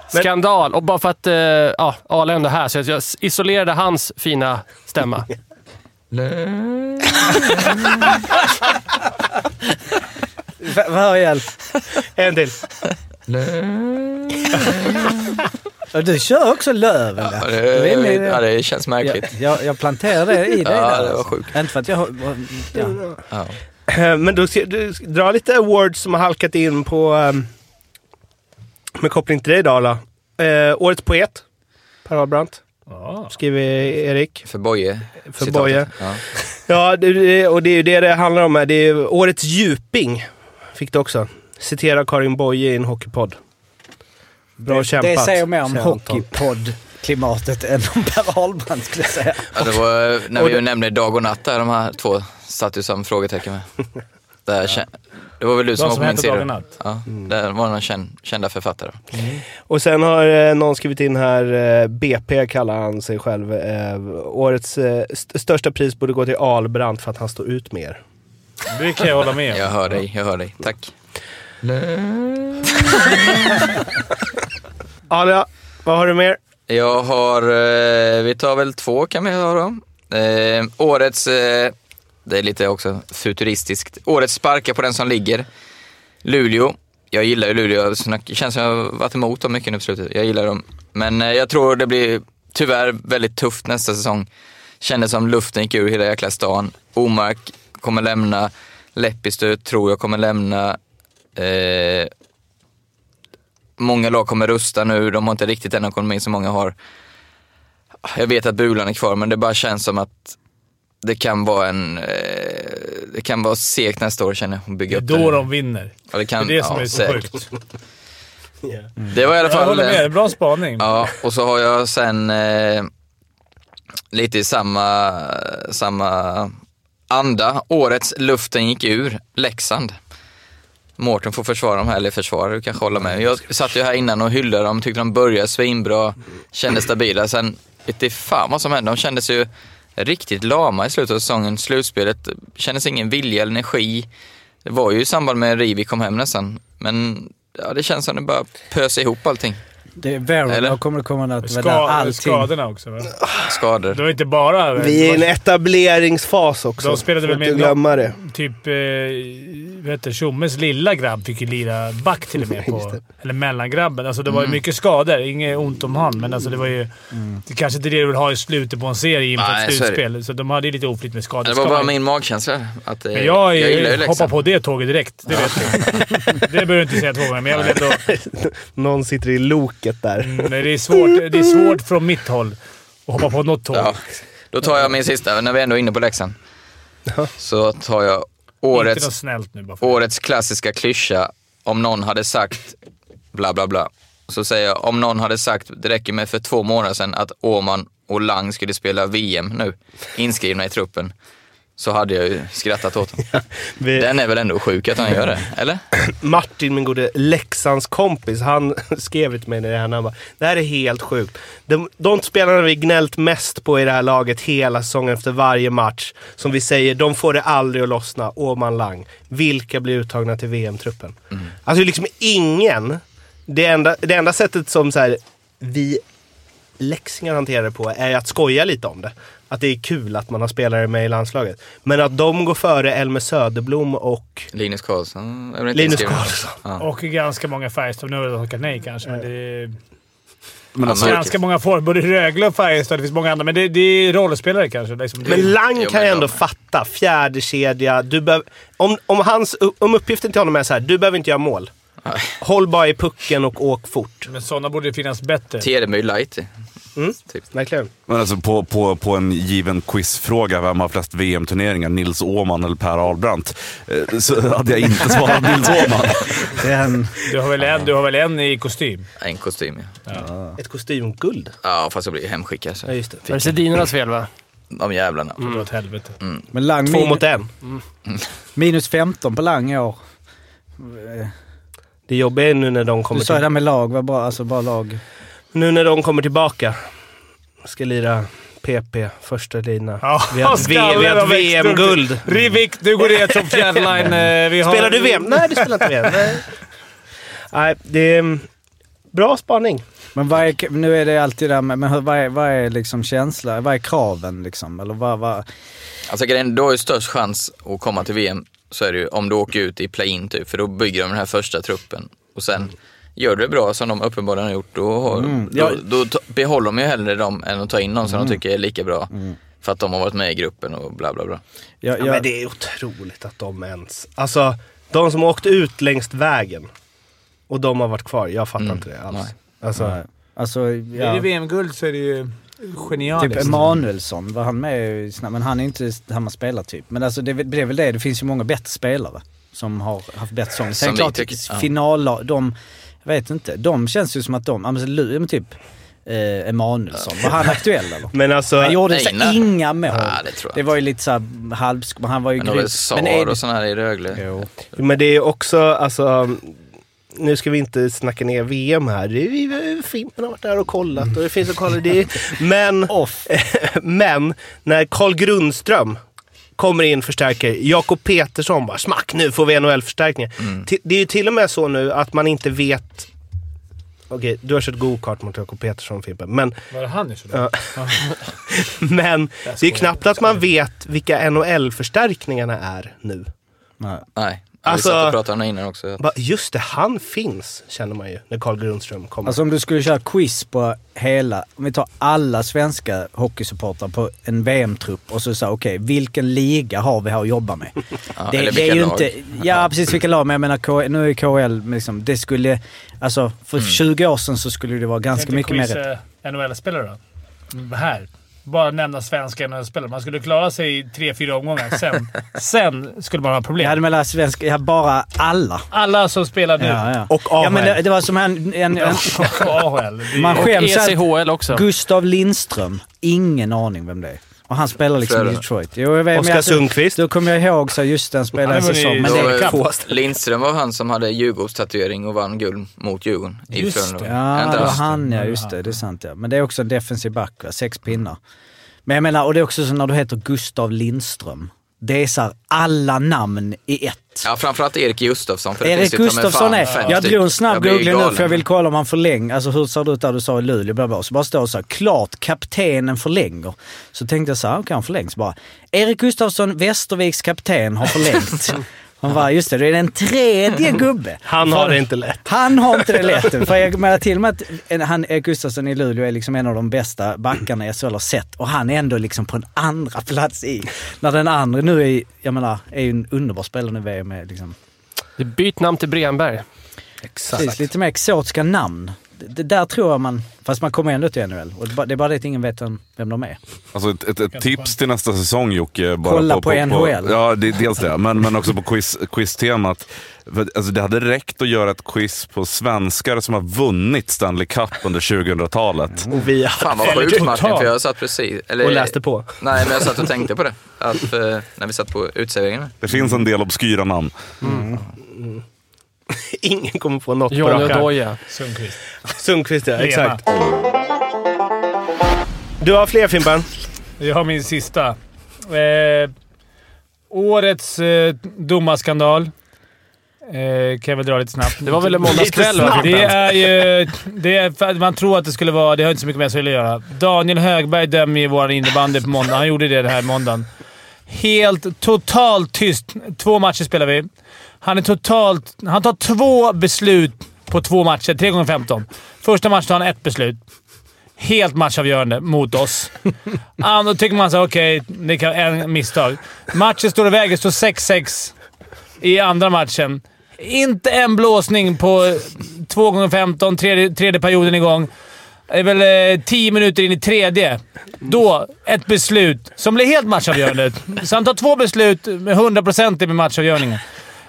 H: Skandal! Och bara för att eh, ja, Ale är ändå här så jag- jag isolerade hans fina stämma.
B: F- Hör ihjäl.
C: En till.
B: Och Du kör också Löven.
J: Ja,
B: där.
J: det,
B: Du är med i det.
J: jag vet- ja, det känns
B: jag,
J: märkligt.
B: jag, jag planterade det i dig
J: Ja,
B: där.
J: det var
B: alltså.
J: sjukt.
B: Inte för att jag... Ja.
J: Ja.
C: Eh, Men då ska du ska dra lite awards som har halkat in på... ehm, med koppling till dig Dala. Eh, årets poet. Per Ahlbrandt.
A: Ja.
C: Skriver Erik.
J: För Boje.
C: För
J: citatet.
C: Boje.
J: Ja.
C: Ja, det- det, och det är ju det det handlar om här. Det är ju årets djuping. Fick du också. Citera Karin Boye i en hockeypodd. Bra
B: det,
C: kämpat.
B: Det säger mer om
C: säger Anton.
B: hockeypodd-klimatet än om Per Ahlbrand skulle jag säga.
J: Ja, det var när
C: Och
J: vi
C: det-
J: nämnde dag och natt där, de här två satt ju som frågetecken med. Där, kä- Det var väl du som
A: Vad som
J: var på min
A: hände
J: sida?
A: dagen natt.
J: Ja, där var några känn, kända författare.
C: Och sen har eh, någon skrivit in här, eh, BP kallar han sig själv. Eh, årets eh, st- största pris borde gå till Ahlbrandt för att han står ut mer.
A: Det kan jag hålla med om.
J: Jag hör dig, jag hör dig. Tack.
C: Alia, vad har du mer?
J: Jag har, eh, vi tar väl två kan vi ha då. Eh, årets, eh, det är lite också futuristiskt, årets sparka på den som ligger. Luleå. Jag gillar ju Luleå, Jag snack- det känns som jag har varit emot dem mycket nu på slutet. Jag gillar dem. Men eh, jag tror det blir tyvärr väldigt tufft nästa säsong. Kändes som luften gick ur hela jäkla stan. Omark kommer lämna, Lepistö tror jag kommer lämna. Eh, många lag kommer rusta nu, de har inte riktigt den ekonomin som många har. Jag vet att Bulan är kvar, men det bara känns som att det kan vara en... Eh, det kan vara segt nästa år känner jag, att
A: Det
J: bygga
A: är
J: upp den.
A: då de vinner.
J: Ja, det,
A: Det
J: kan,
A: är det som
J: ja,
A: är så
J: säkert.
A: sjukt.
J: Det var i alla
A: Jag
J: fall...
A: håller med. Bra spaning.
J: Ja, och så har jag sen eh, lite i samma, samma anda. Årets luften gick ur Leksand. Mårten får försvara dem här, eller försvara, du kanske håller med. Jag satt ju här innan och hyllade dem, tyckte de började svinbra, kändes stabila. Sen inte fan vad som hände, de kändes ju riktigt lama i slutet av säsongen. Slutspelet kändes ingen vilja eller energi. Det var ju i samband med Rivi kom hem nästan. Men ja, det känns som det bara pös ihop allting.
B: Det är Barrow,
J: Eller?
B: då kommer det komma något. det var där
A: Ska,
B: allting...
A: skadorna också. Va?
J: Skador.
A: Det var inte bara...
C: Vi är i en etableringsfas också.
A: De spelade
C: Får
A: väl med
C: inte glömma det.
A: Typ, eh, vad heter det, Tjommes lilla grabb fick ju lira back till och med. På, eller mellangrabben. Alltså det var ju
J: Mm.
A: mycket skador. Inget ont om han, men alltså det var ju... Det kanske inte är det du vill ha i slutet på en serie inför
J: Nej,
A: ett
J: så är det.
A: slutspel. Så de hade ju lite oflyt med skador.
J: Det var bara
A: Ska-
J: min magkänsla. Att, eh,
A: Men jag, är,
J: gillar ju
A: hoppar
J: Leksand.
A: på det tåget direkt. Det vet du. Det behöver jag inte säga två gånger, men jag vill ändå...
C: Någon sitter i loket där.
A: Nej, det, är svårt, det är svårt från mitt håll att hoppa på något tåg.
J: Ja. Då tar jag min sista, när vi ändå är inne på Leksand. Så tar jag
A: Inte något
J: årets,
A: snällt nu bara. För.
J: årets klassiska klyscha. Om någon hade sagt bla bla bla. Så säger jag, om någon hade sagt, det räcker med för två månader sedan, att Åman och Lang skulle spela VM nu, inskrivna i truppen, så hade jag ju skrattat åt honom.
C: Vi,
J: Den är väl ändå sjuk att han gör det, eller?
C: Martin, min gode Leksands kompis, han skrev till mig när det hände. Han bara, det här är helt sjukt. De, de spelarna vi gnällt mest på i det här laget hela säsongen efter varje match, som vi säger, de får det aldrig att lossna. Åman Lang. Vilka blir uttagna till VM-truppen? Alltså liksom ingen. Det enda, det enda sättet som så här, vi läxingar hanterar det på är att skoja lite om det. Att det är kul att man har spelare med i landslaget. Men att de går före Elmer Söderblom och
J: Linus Karlsson? är väl inte
C: Linus
J: inskriven?
C: Karlsson.
A: Och ganska många Färjestad. Nu har jag tackat nej kanske, men det är
I: Men
J: Ja,
I: alltså,
J: men-
A: ganska många får. Både Rögle och Färjestad. Det finns många andra, men det, det är rollspelare kanske. Liksom. Det,
C: Men Lang
J: Jo,
C: kan
J: men
C: jag ändå
J: de-
C: fatta. Fjärde kedja. Du behöv, om, om, hans, om uppgiften till honom är så här, du behöver inte göra mål. Håll bara i pucken och åk fort.
A: men sådana borde det finnas bättre.
J: Tedemy light. Typ
C: Verkligen.
I: men alltså på, på, på en given quizfråga, vem har flest VM-turneringar? Nils Åhman eller Per Ahlbrandt? Eh, Så hade jag inte svarat Nils Åhman.
B: Den,
A: Du har, väl en, du har väl en i kostym?
J: En kostym, ja.
C: Ett kostymguld.
J: Ja, fast jag blir ju hemskickad. Så.
C: Ja, just det.
H: Var det Sedinarnas fel va?
J: De jävlarna.
C: Mm.
A: Det Dra åt helvete.
B: men Lang
C: Två
B: min,
C: mot en.
B: minus 15 på Lang i år.
C: Det jobbiga är nu när de kommer,
B: Du sa det
C: till,
B: där med lag, var bra, alltså bara lag.
C: nu när de kommer tillbaka. Ska lira PP, första lina.
A: Ja,
C: vi har ett,
A: skallen
C: V- vi har
A: har
C: ett
A: växt upp.
C: VM-guld.
A: Rivik, du går ner som fjärde line. Eh, Vi har...
C: Spelar du VM? Nej, du spelar inte VM. Nej, Nej det är mm, bra spaning.
B: Men vad är, nu är det alltid det där med, men hur- vad är, vad är liksom känslan, vad är kraven liksom? Eller vad, vad,
J: Alltså grejen, du har ju störst chans att komma till VM, så är det ju om du åker ut i play-in typ, för då bygger de den här första truppen. Och sen gör du det bra som de uppenbarligen har gjort, då, har,
B: Ja.
J: då, då ta- behåller de ju hellre dem än att ta in någon som de tycker är lika bra. För att de har varit med i gruppen och bla bla bla.
B: jag,
C: Ja,
B: jag,
C: men det är otroligt att de ens... Alltså, de som åkt ut längs vägen och de har varit kvar. Jag fattar inte det alls.
J: nej.
C: Alltså,
B: alltså,
A: Är det
B: ja,
A: VM-guld så är det ju genialiskt.
B: typ Emanuelsson, var han med i snabb- men han är inte samma spelartyp. Men alltså det, det är väl det, det finns ju många bättre spelare som har haft bättre säsonger.
J: Som
B: Sen
J: vi
B: klart,
J: tycker- ja.
B: finallag, de, jag vet inte, de känns ju som att de, ja, men så Lu- ja, men typ eh, Emanuelsson, var han aktuell eller?
C: men alltså...
B: Han gjorde så
J: Einar.
B: inga mål.
J: Ja, det tror jag
B: Det var ju lite såhär halvsk... men Han var ju
J: Men de har
B: grym.
J: väl SAR och sådana här i Rögle.
B: Jo.
C: Men det är ju också, alltså... Nu ska vi inte snacka ner VM här. Det är ju- Fimpen har varit där och kollat och det finns att kolla. Det är, men, men när Carl Grundström kommer in förstärker, Jakob Petersson bara smack nu får vi NHL-förstärkningen. Det är ju till och med så nu att man inte vet... Okej, du har kört go-kart mot Jakob Petersson Fimpen, men
A: Var det han i så
C: Ja. Men det är knappt att man vet vilka NHL-förstärkningarna är nu.
B: Nej.
J: Nej,
C: Alltså-
J: vi satt och pratade om det innan också.
C: Bara, Just det, han finns, känner man ju när Carl Grundström kommer.
B: Alltså om du skulle köra quiz på hela, om vi tar alla svenska hockeysupportrar på en VM-trupp och så säger okej, vilken liga har vi här att jobba med?
J: Ja,
B: det,
J: eller
B: det
J: vilka
B: är ju
J: lag.
B: inte, ja precis vilka lag, men jag menar K, nu är KHL liksom, det skulle, alltså för
J: Mm.
B: 20 år sedan så skulle det vara ganska mycket mer rätt.
A: NHL-spelare då? Mm, Här. Bara nämna svenska NHL-spelare. Man skulle klara sig i tre, fyra omgångar. Sen, sen skulle man ha
B: Jag hade
A: problem.
B: menar svenska, jag hade bara alla.
A: Alla som spelar nu.
B: Ja, ja.
C: Och
B: ja, men
C: AHL.
B: det, det var som en, en, en
A: Och AHL. Det är-
B: man
H: Och
B: skäms
J: E
B: att-
H: ECHL också.
B: Gustav Lindström. Ingen aning vem det är. Och han spelar liksom i
J: Frölunda.
B: Detroit. Jo, jag vet, men
C: Oskar
B: alltså,
C: Sundqvist.
B: Då kommer jag ihåg så här, just den spelade en
A: Han är väl i-
B: säsong. Men
J: Då,
B: det,
A: är
J: eh,
A: kaos.
J: Lindström var han som hade Djurgårdstatuering och vann guld mot Djurgården i
A: Just det.
J: Frölunda. Är
B: ja,
J: inte
B: det var han
J: han?
B: ja. Just det, det är sant ja. Men det är också en defensiv back, va? sex pinnar. Men jag menar, och det är också så när du heter Gustav Lindström. Det är så här, alla namn i ett.
J: Ja, framförallt Erik Gustafsson. För det
B: Erik
J: finns ju ta mig fan
B: Gustafsson är...
J: fem
B: Jag
J: stycken.
B: drog en snabb
J: Jag blir ju
B: googling nu
J: galen.
B: för jag vill kolla om han förlänger. Alltså hur ser det ut där du sa i Luleå? Bla, bla. Så bara står det så här, klart kaptenen förlänger. Så tänkte jag så här, okej han förlängs bara. Erik Gustafsson, Västerviks kapten, har förlängt. Han bara, just det, det är den tredje gubbe.
C: Han har det inte lätt.
B: Han har inte det lätt. För jag menar till och med att en- han, Erik Gustafsson i Luleå är liksom en av de bästa backarna jag SHL har sett. Och han är ändå liksom på en andra plats i. När den andra nu är, jag menar, är ju en underbar spelare nu i VM. är Liksom.
H: Byt namn till Bremberg.
B: Precis, lite mer exotiska namn. det där tror jag man... Fast man kommer ändå till NHL. Och det är bara- det är bara det att ingen vet vem, vem de är.
I: Alltså ett, ett, ett tips till nästa säsong Jocke. Bara
B: Kolla på NHL.
I: ja, det, dels det. Men, men också på quiz, quiztemat. För, att, alltså, det hade räckt att göra ett quiz på svenskar som har vunnit Stanley Cup under 2000-talet.
C: Och vi har
J: Fan vad
A: Eller
J: sjukt Martin,
A: totalt.
J: för jag satt precis... Eller,
C: och läste på.
J: Nej, men jag satt och tänkte på det. Att, eh, när vi satt på uteserveringen.
I: Det finns en del obskyra namn.
C: Ingen kommer på något på
H: Johnny
C: rak arm.
H: Odoja.
A: Sundqvist.
C: Sundqvist ja,
A: Lema.
C: exakt. Du har fler Fimpen?
A: Jag har min sista. Eh, årets eh, domarskandal. Eh, kan jag väl dra lite snabbt.
H: Det var väl en måndagskväll va? Fimpen?
A: Det är ju... Det är för att man tror att det skulle vara... Det har inte så mycket med SHL att göra. Daniel Högberg dömer ju vår innebandy på måndag. Han gjorde det den här måndagen. Helt totalt tyst. Två matcher spelar vi. Han är totalt... Han tar två beslut på två matcher. Tre gånger 15. Första matchen tar han ett beslut. Helt matchavgörande mot oss. Ja, då tycker man så här, okej, det kan en misstag. Matchen står och väger, står 6-6 i andra matchen. Inte en blåsning på 2 gånger 15 tredje, tredje perioden igång. Det är väl eh, 10 minuter in i tredje. Då ett beslut som blir helt matchavgörande. Så han tar två beslut med 100% med matchavgörningen.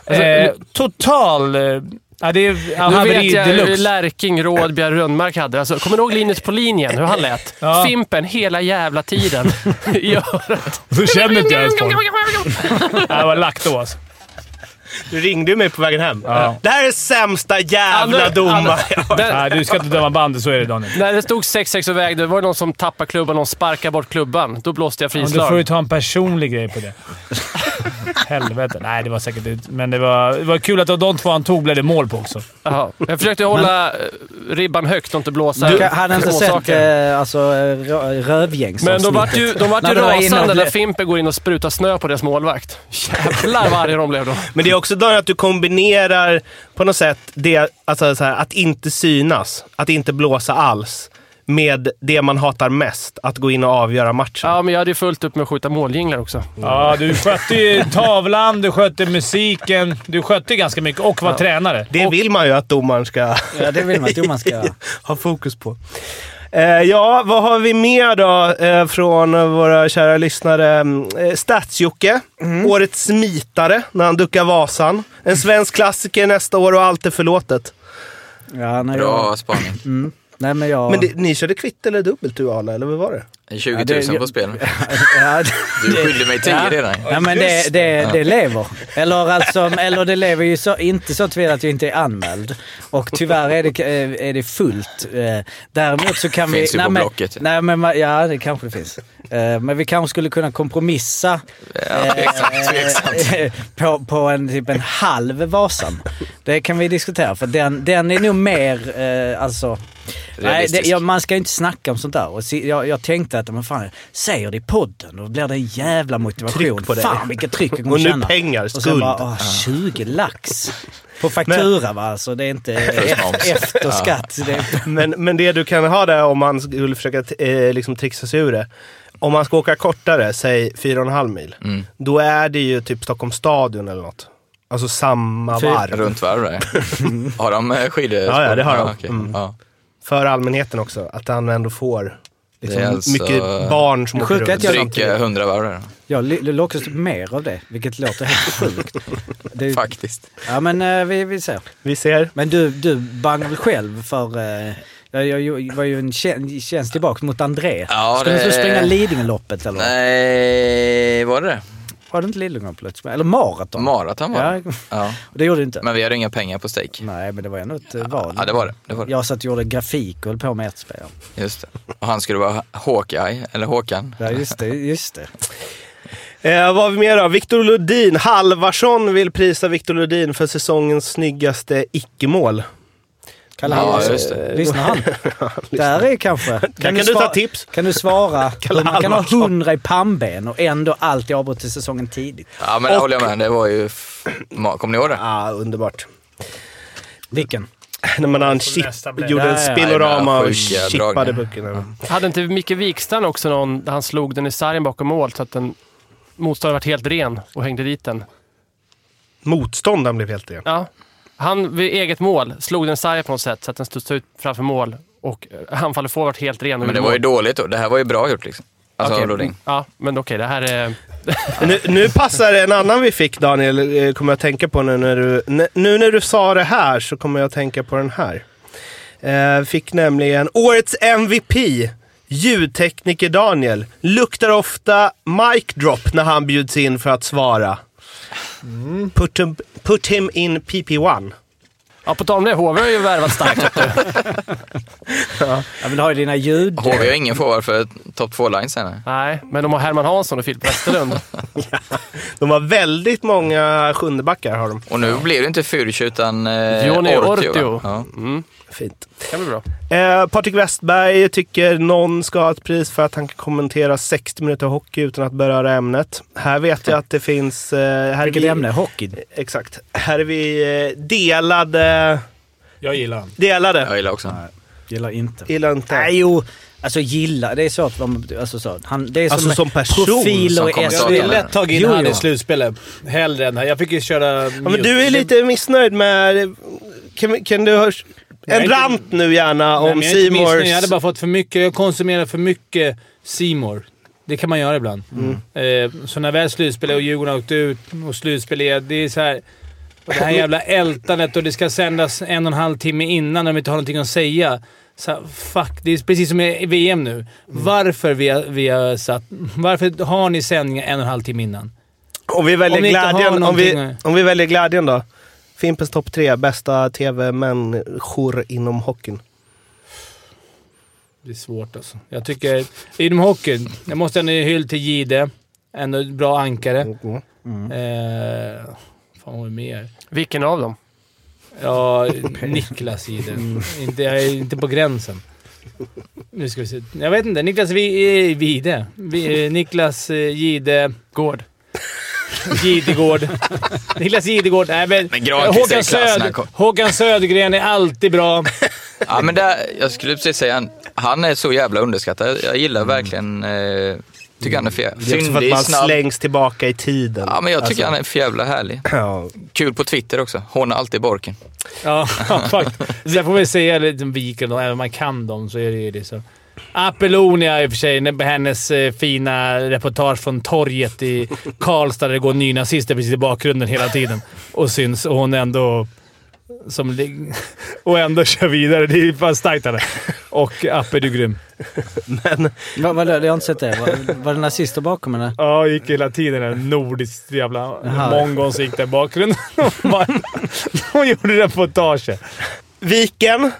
H: Alltså,
A: Eh, total... Eh, ja, det är
H: Nu vet
A: haveri
H: jag hur
A: deluxe.
H: Lärking, Rådbjerg, Rönnmark hade. Alltså, kommer du ihåg Linus på linjen? Hur han lät?
A: Ja.
H: Fimpen hela jävla tiden. ja.
A: Så känner inte jag ens på honom. Det var lack då alltså.
C: Du ringde ju mig på vägen hem.
A: Ja.
C: Det här är sämsta jävla
H: Ja, nu-
C: domare.
H: Där,
A: Nej, du ska inte döma bandet. Så är det Daniel.
H: när det stod 6-6 och vägde, det var det någon som tappade klubban och sparkade bort klubban. Då blåste jag
A: Ja, men då
H: frislag.
A: får du ta en personlig grej på det. Helvete. Nej, det var säkert ut. Men det var, det var kul att de två han tog blev det mål på också.
H: Jaha. Jag försökte hålla eh, ribban högt och inte blåsa
B: Du hade inte
H: små
B: sett
H: saker.
B: eh, alltså, rö-
H: Men
B: rövgängsavsnittet.
H: de vart ju, de vart ju
B: När det var
H: rasande
B: inhopp-
H: när Fimpen går in och sprutar snö på deras målvakt. Jävlar vad arga de blev då.
C: Men det är också Daniel att du kombinerar på något sätt det, alltså så här, att inte synas, att inte blåsa alls, med det man hatar mest, att gå in och avgöra matchen.
H: Ja, men jag hade ju fullt upp med att skjuta målginglar också.
A: Ja, du skötte ju tavlan, du skötte musiken. Du skötte ganska mycket och var tränare.
C: Det vill man ju att domaren ska
B: Ja, det vill man inte man ska göra.
C: ha fokus på. Eh, ja, vad har vi mer då eh, från eh, våra kära lyssnare? Mm, Eh, Stats-Jocke, årets smitare när han duckar Vasan. En svensk klassiker nästa år och allt är förlåtet.
B: Ja, Mm. nej, jag,
J: Bra spaning.
B: nej, men jag...
C: Men det, ni körde kvitt eller dubbelt du Arla, eller vad var det?
J: 20
B: Ja,
J: 000
B: det-
J: på spel.
B: ja,
J: Du skyllde mig 10 redan.
B: Nej, men det, det, det lever. Eller, alltså, eller det lever ju så, inte så till att jag inte är anmäld. Och tyvärr är det, eh, är det fullt. Eh, Däremot så kan vi...
J: Finns ju
B: nej,
J: på
B: men,
J: Blocket.
B: Nej, men ma- ja, det kanske det finns. Eh, Men vi kanske skulle kunna kompromissa
J: Ja, tveksamt, tveksamt.
B: eh, på, på en, typ en halv Vasan. Det kan vi diskutera, för den, den är nog mer... Eh, alltså, nej, det,
J: Realistisk.
B: ja, man ska ju inte snacka om sånt där. Och si- jag, jag tänkte att men fan, säger det i podden, då blir det en jävla motivation.
C: Tryck på dig.
B: Fan vilket tryck jag kommer
C: Och nu
B: känna.
C: pengar,
B: Och sen
C: skuld. Ah."
B: bara, åh, 20 lax. På faktura va, alltså det är inte e- efter skatt. Det är,
C: Men, men det du kan ha där om man skulle försöka t- eh, liksom trixa sig ur det. Om man ska åka kortare, säg 4,5 mil. Då är det ju typ Stockholms stadion eller något. Alltså samma varv.
J: Runt varv där. Har de eh, skidor?
C: Ja, ja, det har de.
J: okej.
C: Mm.
J: Ja.
C: För allmänheten också. Att han ändå får liksom,
J: Det är alltså-
C: mycket barn som
B: Det
C: åker
B: sjuka är
C: runt.
B: att jag-
J: Drygt eh, 100 varv där.
B: jag l- lockas mer av det, vilket låter helt sjukt. Det, är-
J: Faktiskt.
B: ja men eh, vi, vi ser.
C: Vi ser.
B: Men du, du bangar väl själv för... Eh, jag, jag, jag var ju en tjän- tjänst tillbaka mot André.
J: Ja,
B: Skulle
J: det-
B: du springa Lidingöloppet eller?
J: Nej, var det det?
B: Var det inte Lidingöloppet? Eller maraton?
J: Maraton var det.
B: Ja.
J: Ja.
B: det gjorde du inte?
J: Men vi har inga pengar på stake.
B: Nej, men det var ändå ett eh, val.
J: Ja, det var det. det, var det.
B: Jag satt och gjorde grafik och höll på med ett spel.
J: Just det. Och han skulle vara Hawkeye, eller Håkan.
B: Ja, just det. Just det.
C: Eh, vad har vi mer då? Victor Lodin. Halvarsson vill prisa Victor Lodin för säsongens snyggaste icke-mål.
B: Kalle
J: Ja,
B: Halvarsson.
J: just det.
B: Lyssnar han? Där är kanske... Kan,
C: Kan, kan du ta
B: sva-
C: tips?
B: Kan du svara?
C: Kalle
B: man kan ha
C: Halvarsson.
B: hundra i pannben och ändå alltid avbryta säsongen tidigt.
J: Ja, men det håller jag med. Det var ju... f- ma- Kommer ni ihåg det?
C: Ja, ah, underbart.
B: Vilken?
C: När man han chip,
A: nästa blev-
C: gjorde en
B: Nej,
C: spinorama
J: nej,
C: och
J: sjuka
C: chippade
J: dragningar.
C: pucken. eller?
H: Hade inte Micke Wikstrand också någon där han slog den i sargen bakom mål så att den motståndaren vart helt ren och hängde dit den?
C: Motståndaren blev helt ren.
H: Ja. Han vid eget mål slog den sarg på något sätt så att den studsade ut framför mål och eh, anfallet forward helt ren.
J: Men det var ju dåligt då. Det här var ju bra gjort liksom. Alltså av Rodin.
H: Ja, men okej, det här är...
C: Nu, nu passar en annan vi fick Daniel, eh, kommer jag tänka på nu när du... n- Nu när du sa det här så kommer jag tänka på den här. Eh, fick nämligen årets MVP, ljudtekniker Daniel. Luktar ofta mic drop när han bjuds in för att svara. Put, him, put him in PP1.
H: Ja, på tal om det, HV har ju värvat starkt.
B: Ja, men du har ju dina ljud...
J: HV har ingen forward för topp 2-line senare.
H: Nej, men de har Herman Hansson och Filip Westerlund.
C: De har väldigt många sjundebackar har de.
J: Och nu blev det inte Fürch utan eh,
H: Johnny Ortio.
J: Ortio. Ja.
C: Fint.
H: Det kan bli bra.
C: Eh, Patrik Westberg tycker någon ska ha ett pris för att han kan kommentera 60 minuter hockey utan att beröra ämnet. Här vet jag att det finns... Eh, här är
B: Vilket
C: vi,
B: ämne? Hockey?
C: Exakt. Här är vi eh, delade.
A: Jag gillar han.
J: Jag
C: Delade.
J: gillar också.
B: Gillar inte.
C: Gillar inte.
B: Nej, jo. Alltså gilla, det är svårt vad man... Alltså, så, han, det är
C: Alltså, som person
B: profiler
J: som
B: i
J: kommentator.
A: Jag
J: Ja,
A: hade
J: men-
A: lätt tagit in
B: Jo,
A: han
B: jo.
A: i slutspelet. Hellre än... Jag fick ju köra...
C: Ja, men du är lite missnöjd med... Kan, vi- kan du höra... En
A: inte-
C: rant nu gärna om
A: jag, är inte missnöjd. jag hade
C: Seymours...
A: bara fått för mycket. Jag konsumerar för mycket Simor. Det kan man göra ibland. Eh, så när väl slutspelet och Djurgården åkte ut och slutspel är... Det är så här... och Det här jävla ältandet och det ska sändas en och en halv timme innan när de inte har någonting att säga. Så här, fuck, det är precis som i VM nu. Varför vi har, vi har satt... Varför har ni sändningar en och en halv timme innan?
C: Om vi väljer
A: Om ni inte har
C: glädjen om vi,
A: någonting-
C: om vi väljer glädjen då. Fimpens topp tre bästa tv-människor inom hockeyn.
A: Det är svårt alltså. Jag tycker... Inom hockeyn. Jag måste ändå ge hyll till Gide. Ändå ett bra ankare. Eh, fan, vad är mer?
H: Vilken av dem?
A: Ja, Niklas Gide. Inte, jag är inte på gränsen. Nu ska vi se. Jag vet inte. Niklas Vi- eh, Vide. Vi- eh, Niklas eh, Gide...
H: Gård.
A: Gidegård. Niklas Gidegård. Nej, men,
J: Men Granqvist är
A: Håkan,
J: i klassen,
A: Söd,
J: han kom-
A: Håkan Södergren är alltid bra.
J: Ja, men där, jag skulle precis säga han, han är så jävla underskattad. Jag gillar verkligen... Eh, tycker han är för
C: Det är också för att
J: fyndig,
C: man Alltså.
J: snabb.
C: slängs tillbaka i tiden.
J: Ja, men jag tycker han är för jävla härlig.
C: Ja.
J: Kul på Twitter också. Hånar alltid Borken.
A: Ja, faktiskt. Sen får vi säga lite om Viken, även om man kan dem så är det ju det. Så. Apellonia i och för sig, när- hennes eh, fina reportage från torget i Karlstad där det går nynazister precis i bakgrunden hela tiden och syns. Och hon ändå... Som, lig- och ändå kör vidare. Det är ju fan starkt henne. Och Appe, du är grym.
B: Vad, vad, jag har inte sett det. Var, var det nazister bakom henne?
A: Ja, gick hela tiden en nordisk jävla
B: Jaha.
A: mongon som gick där i bakgrunden. Hon bara- Hon gjorde reportage.
C: Viken.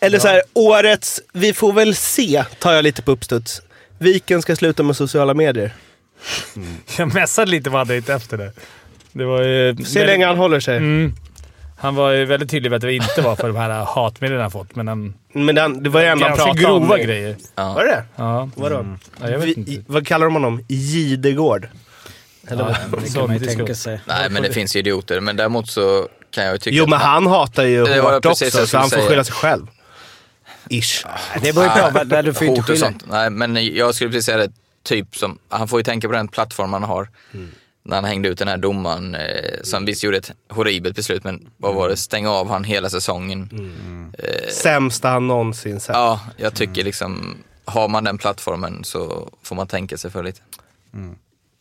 C: Eller så här, årets Vi får väl se tar jag lite på uppstuds. Viken ska sluta med sociala medier.
A: Jag messade lite vad han hade hittat efter det. Det var ju...
C: Se hur länge han håller sig.
A: Mm. Han var ju väldigt tydlig med att det inte var för de här hatmedlen han fått, men han...
C: Men den, det var det enda han
A: Ganska
C: pratade om.
A: grova grejer.
J: Ja.
C: Var det det?
A: Ja. Mm.
C: Vadå?
A: ja, jag vet
C: Vi-
A: inte.
C: i- Vad kallar de honom? Gidegård.
A: Ja,
B: Det
A: sån
B: kan man ju
A: diskussion.
B: tänka sig.
J: Nej, men det finns ju idioter. Men däremot så kan jag ju tycka...
C: Jo, men
J: att-
C: han hatar ju
J: Det var
C: hårt
J: precis det
C: också,
J: jag
C: så han får
J: skulle
C: skylla
J: säga.
C: sig själv. Ish.
B: Det beror ju på.
J: Nej,
B: vad- där Du får ju inte
J: hot och
B: skylla.
J: sånt. Nej, men jag skulle precis säga det. Typ som, han får ju tänka på den plattform han har. När han hängde ut den här domaren eh, som visst gjorde ett horribelt beslut, men vad var det? Stänga av han hela säsongen. Eh.
C: Sämsta han någonsin sett.
J: Ja, jag tycker liksom, har man den plattformen så får man tänka sig för lite.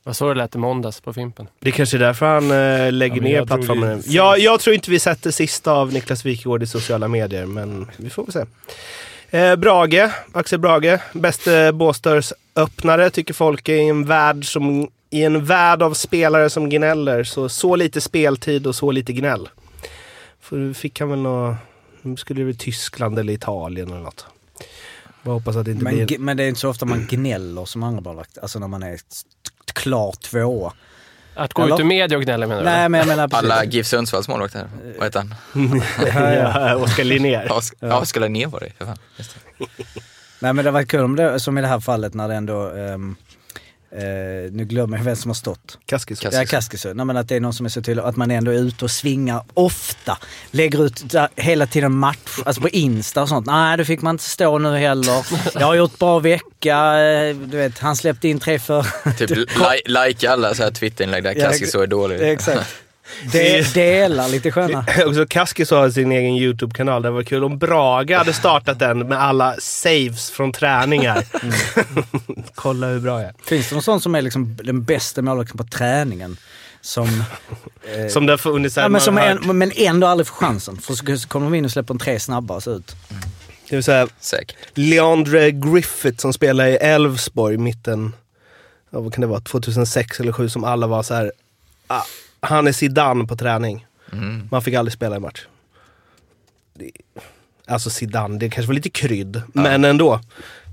H: Vad så det lät i måndags på Fimpen.
C: Det kanske är därför han eh, lägger
A: Ja, men
C: ner
A: jag tror
C: plattformen
A: det-
C: nu. Jag, jag tror inte vi sett det sista av Niklas Wikegård i sociala medier, men vi får väl se. Eh, Brage, Axel Brage, bäste Båstörs-öppnare tycker folk i en värld som i en värld av spelare som gnäller. Så, så lite speltid och så lite gnäll. För nu fick han väl nå... Nu skulle det bli Tyskland eller Italien eller något. Bara hoppas att det inte
B: Men,
C: blir...
B: g- men det är inte så ofta man gnäller som andra målvakter. Alltså när man är t- t- klar tvåa.
H: Att gå
B: Eller?
H: ut i media och gnälla menar du?
B: Nej, men jag menar precis.
J: Alla GIF Sundsvalls målvakter, här. vad heter han?
C: ja, Oskar Linnér.
J: Os- Ja, Oskar Linnér var det för fan. Just det.
B: Nej men det var kul om det, som i det här fallet när det ändå... ehm, eh, nu glömmer jag vem som har stått.
C: Kaskis.
J: Kaskis.
B: Ja, Kaskisö. Nej men att det är någon som är så tydlig, att man ändå är ute och svingar ofta. Lägger ut där, hela tiden match, alltså på Insta och sånt. Nej, det fick man inte stå nu heller. Jag har gjort bra vecka, eh, du vet, han släppte in tre för...
J: Typ, li- like alla så här Twitterinlägg där
B: Ja, eh,
J: Kaskis så är dålig.
B: Exakt. De, delar lite sköna.
C: Också Kaskis har sin egen YouTube-kanal. Det var kul om Braga hade startat den med alla saves från träningar. Kolla hur bra jag är.
B: Finns det någon sån som är liksom den bästa målvakten på träningen? Som,
C: Som det har funnits här.
B: ja, men,
C: man
B: som
C: har hört.
B: en, men ändå aldrig får chansen. För så så kommer de in och släpper en tre snabba och så ut.
C: Det vill säga
J: Säkert.
C: Leandre Griffith som spelar i Elfsborg mitten, ja, vad kan det vara, 2006 eller 2007 som alla var så här. Ah, han är Zidane på träning.
J: Mm.
C: Man fick aldrig spela i match. Det, alltså Zidane, det kanske var lite krydd, men ändå.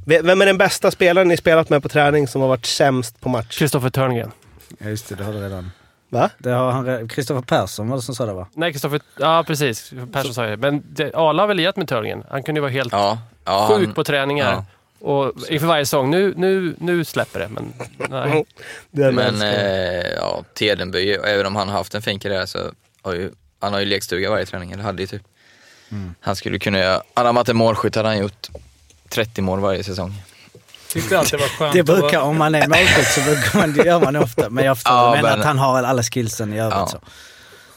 C: V- Vem är den bästa spelaren ni spelat med på träning som har varit sämst på match?
H: Kristoffer Törngren.
B: Ja just det, det har du redan.
C: Va?
B: Det har han re- Kristoffer Persson var det som sa det va?
H: Nej, Kristoffer... Ja, precis. Persson sa ju det. Men det, Arla har väl lirat med Törngren. Han kunde ju vara helt
J: Ja. ja
H: sjuk
J: han-
H: på träningar. Och inför varje sång. Nu, nu, nu släpper det, men nej.
C: Det är
J: Men
C: vänster.
J: eh, ja, Tedenby, och även om han har haft en fin karriär så har ju, han har ju lekstuga varje träning, eller hade ju typ. Han skulle kunna göra, hade han varit en målskytt hade han gjort 30 mål varje säsong.
A: Tyckte alltid det var skönt
B: Det
A: att vara-
B: brukar, om man är målskytt så brukar man, det gör man ofta. Men jag förstår,
J: Ja,
B: men,
J: men-
B: att han har alla skillsen i övrigt
J: Ja.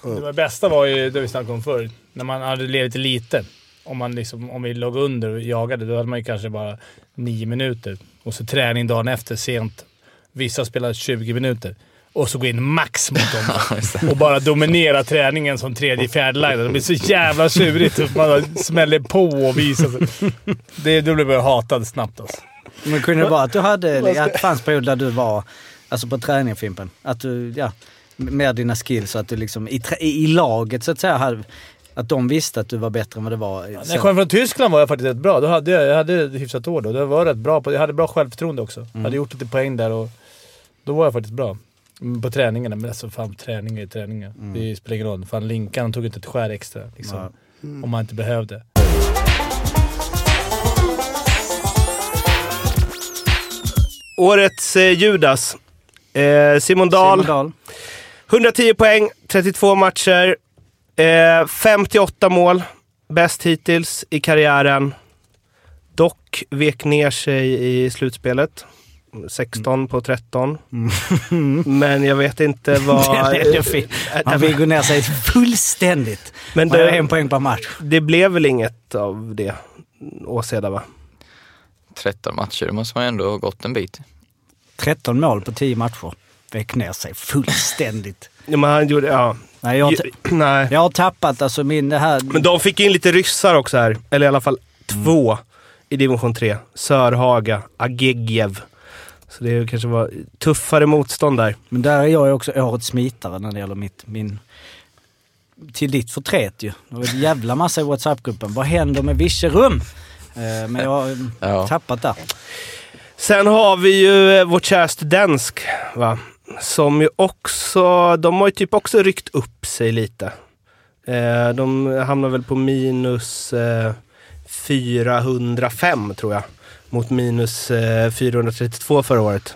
B: så.
A: Det var bästa var ju det vi snackade om förr, när man hade levt lite. Om, man liksom, om vi låg under och jagade, då hade man ju kanske bara nio minuter. Och så träning dagen efter, sent. Vissa spelade 20 minuter. Och så gå in max mot dem och bara dominera träningen som tredje fjärde line. Det blir så jävla tjurigt. Typ man bara smäller på och visar sig. Det, då blev jag hatad snabbt alltså.
B: Men kunde det vara att du hade, att det fanns perioder där du var, alltså på träningen Fimpen, att du, ja, med dina skills och att du liksom i, trä- i i laget så att säga, hade, att de visste att du var bättre än vad det var.
A: När
B: så.
A: jag kom från Tyskland var jag faktiskt rätt bra. Då hade jag, jag hade ett hyfsat år då. Jag, var rätt bra på, jag hade bra självförtroende också. Jag hade gjort lite poäng där och då var jag faktiskt bra. Mm, På träningarna, men alltså fan träningar är träningar. Det spelar ingen roll. Fan Linkan han tog inte ett skär extra liksom, om man inte behövde.
C: Årets eh, Judas. Eh, Simon Dahl.
B: Simon Dahl.
C: 110 poäng, 32 matcher, eh, 58 mål. Bäst hittills i karriären. Dock vek ner sig i slutspelet. 16 på 13. Men jag vet inte vad...
B: Den Mm. är ju fin. Han vill gå ner sig fullständigt.
C: Men
B: Men det...
C: det,
B: en poäng per match.
C: det blev väl inget av det, Åseda va?
J: 13 matcher, då måste man ju ändå ha gått en bit.
B: 13 mål på 10 matcher. Väck ner sig fullständigt.
C: Ja, men han gjorde... Ja.
B: Nej, jag, har ta-
C: Ju, nej.
B: jag har tappat alltså min... Det här,
C: Men de fick in lite ryssar också här. Eller i alla fall två i division 3. Sörhaga, Agegiev. Så det kanske var tuffare motstånd där.
B: Men där är jag ju också årets smitare när det gäller mitt, min... Till ditt förtret ju. Det var en jävla massa i WhatsApp-gruppen. Vad händer med Virserum? Eh, Men jag har eh,
J: Ja.
B: tappat där.
C: Sen har vi ju eh, vårt kära Studensk, va? Som ju också... De har ju typ också ryckt upp sig lite. Eh, de hamnar väl på minus eh, 405 tror jag. Mot minus eh, 432 förra året.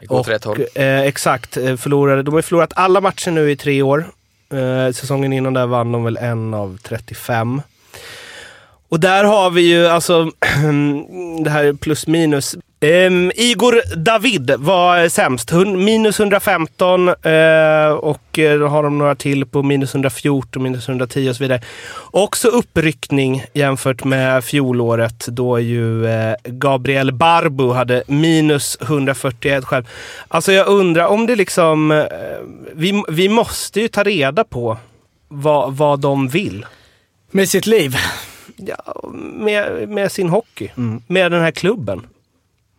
J: Det går åt rätt håll.
C: Eh, exakt. Eh, Förlorade. De har ju förlorat alla matcher nu i tre år. Eh, säsongen innan där vann de väl en av 35. Och där har vi ju alltså, det här är plus minus. Ehm, Igor David var sämst. Hun, minus 115 eh, och eh, då har de några till på minus 114, minus 110 och så vidare. Också uppryckning jämfört med fjolåret då ju eh, Gabriel Barbo hade minus 141 själv. Alltså jag undrar om det liksom... Eh, vi, vi måste ju ta reda på vad, vad de vill
B: Med sitt liv.
C: ja, med, med sin hockey. Med den här klubben.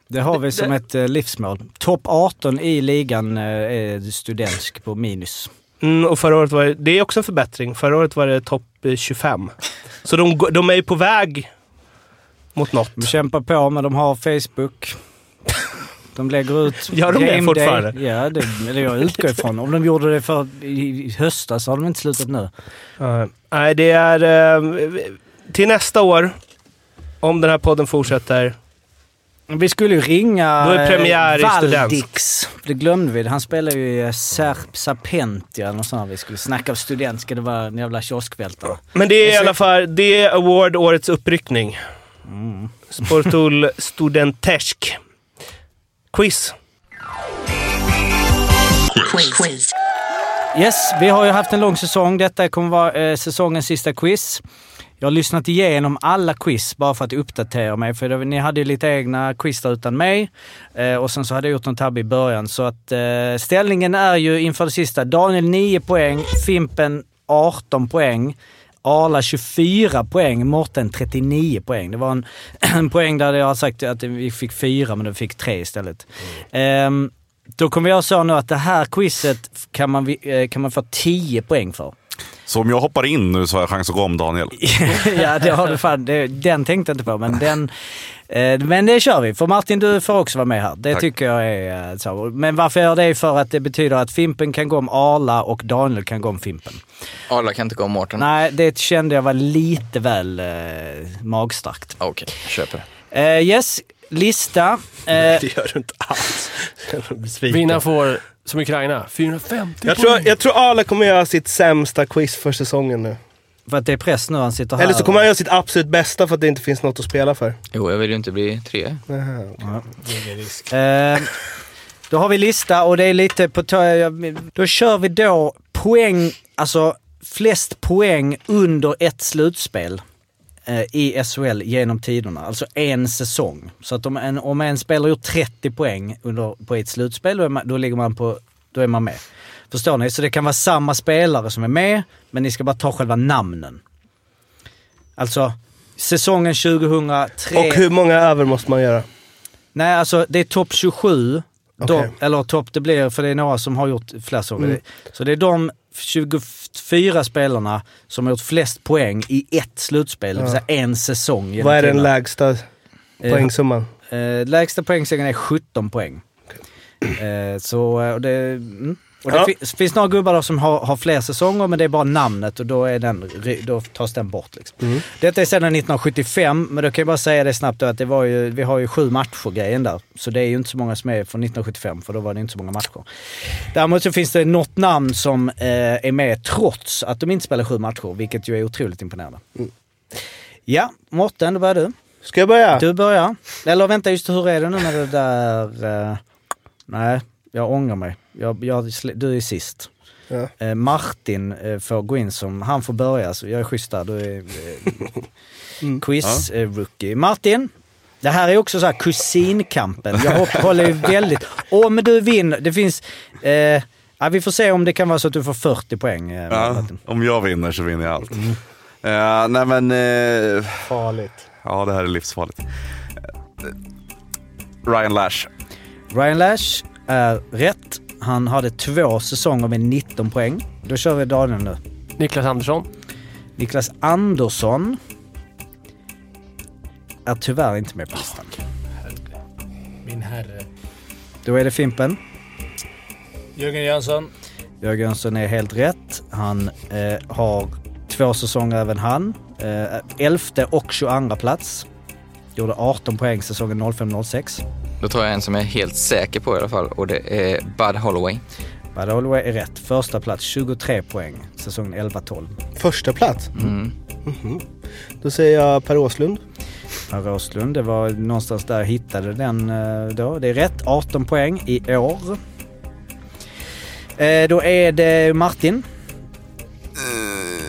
B: Det har vi som ett eh, livsmål. Topp 18 i ligan eh, är studentsk på minus.
C: Mm, och förra året var det, det är också en förbättring. Förra året var det topp eh, 25. Så de, går- de är ju på väg mot något.
B: De kämpar på men de har Facebook. De lägger ut
C: Gör de det
B: game day.
C: fortfarande?
B: Ja, det, eller jag utgår ifrån. Om de gjorde det för i i höstas så har de inte slutat nu.
C: Eh, Nej, det är... eh, till nästa år, om den här podden fortsätter.
B: Vi skulle ju ringa
C: Då är premiär i
B: eh, Valdix. Det glömde vi. Han spelar ju i eh, Serp Sapentia eller något sånt. Vi skulle snacka om student. Ska det vara en jävla kioskvältare?
C: Men det är i alla fall det är Award Årets uppryckning. Mm. Sportul Studentesk. Quiz.
F: Quiz. Quiz.
B: Yes, vi har ju haft en lång säsong. Detta kommer vara eh, säsongens sista quiz. Jag har lyssnat igenom alla quiz bara för att uppdatera mig, för det, ni hade ju lite egna quiz där utan mig. Eh, och sen så hade jag gjort en tabbe i början. Så att eh, ställningen är ju inför det sista. Daniel 9 poäng, Fimpen 18 poäng, Arla 24 poäng, Morten 39 poäng. Det var en, en poäng där jag har sagt att vi fick fyra, men de fick tre istället. Ehm, då kommer jag säga nu att det här quizet f- kan man, vi- eh, kan man få 10 poäng för.
I: Så om jag hoppar in nu så har jag chans att gå om Daniel.
B: ja, det har du fan. Det, den tänkte jag inte på, men den... Eh, men det kör vi. För Martin, du får också vara med här. Det
I: Tack.
B: tycker jag är eh, så. Men varför jag gör det är för att det betyder att Fimpen kan gå om Arla och Daniel kan gå om Fimpen.
J: Arla kan inte gå om Mårten.
B: Nej, det kände jag var lite väl eh, magstarkt.
J: Ah, Okej, köper.
B: Eh, yes, lista. Eh,
C: Det gör du inte alls. Jag blir besviken.
H: Vinnaren får, som Ukraina, 450
C: Jag tror,
H: poäng.
C: jag tror Arla kommer göra sitt sämsta quiz för säsongen nu.
B: för att det är press nu han sitter här.
C: Eller så kommer han göra sitt absolut bästa för att det inte finns något att spela för.
J: Jo, jag vill ju inte bli tre.
B: Eh, då har vi lista och det är lite på tö- Då kör vi då poäng, alltså flest poäng under ett slutspel eh, i SHL genom tiderna. Alltså en säsong. Så att om en, om en spelare gjort 30 poäng under, på ett slutspel, då, är man, då ligger man på... Då är man med. Förstår ni? Så det kan vara samma spelare som är med, men ni ska bara ta själva namnen. Alltså, säsongen 2003...
C: Och hur många över måste man göra?
B: Nej, alltså det är topp 27. De,
C: Okej. Mm.
B: Eller topp det blir, för det är några som har gjort flest år. Så det är de 24 spelarna som har gjort flest poäng i ett slutspel, det vill säga en säsong. genom
C: Vad är den
B: tiderna.
C: lägsta poängsumman?
B: Eh, lägsta poängsegern är 17 poäng. Eh, så eh, och det, mm. och det
C: Ja.
B: fi- finns några gubbar då som har, har fler säsonger men det är bara namnet och då, är den, ry- då tas den bort. Liksom. Detta är sedan 1975 men då kan jag bara säga det snabbt då att det var ju, vi har ju sju matcher grejen där. Så det är ju inte så många som är från 1975 för då var det inte så många matcher. Däremot så finns det något namn som eh, är med trots att de inte spelar sju matcher vilket ju är otroligt imponerande. Ja, Mårten, då börjar du.
C: Ska jag börja?
B: Du börjar. Eller vänta, just hur är det nu med det där... eh, nej, jag ångrar mig. Jag, jag, sl- du är sist.
C: Ja.
B: Eh, Martin eh, får gå in som... Han får börja, så jag är schysst där. Du är eh,
C: Mm.
B: quiz-rookie. Martin, det här är också så här kusinkampen. Jag hopp, håller ju väldigt... Om du vinner, det finns... Eh, ja, vi får se om det kan vara så att du får 40 poäng. Eh,
I: Ja,
B: Martin.
I: om jag vinner så vinner jag allt. Eh, nej men, eh,
C: Farligt.
I: ja det här är livsfarligt. Eh, Ryan Lash.
B: Ryan Lash är rätt. Han hade två säsonger med 19 poäng. Då kör vi Daniel nu.
H: Niklas Andersson.
B: Niklas Andersson är tyvärr inte med på listan.
A: Min herre.
B: Då är det Fimpen.
A: Jörgen Jönsson.
B: Jörgen Jönsson är helt rätt. Han eh, har två säsonger även han. Eh, elfte och 22 plats. Gjorde 18 poäng säsongen 05-06.
J: Då tar jag en som jag är helt säker på i alla fall och det är Bud Holloway.
B: Bad Holloway är rätt. Första plats 23 poäng säsongen 11-12.
C: Första plats.
J: Mm.
C: Mhm. Då säger jag Per Åslund.
B: Per Roslund, det var någonstans där jag hittade den eh, då. Det är rätt, 18 poäng i år. Eh, Då är det Martin.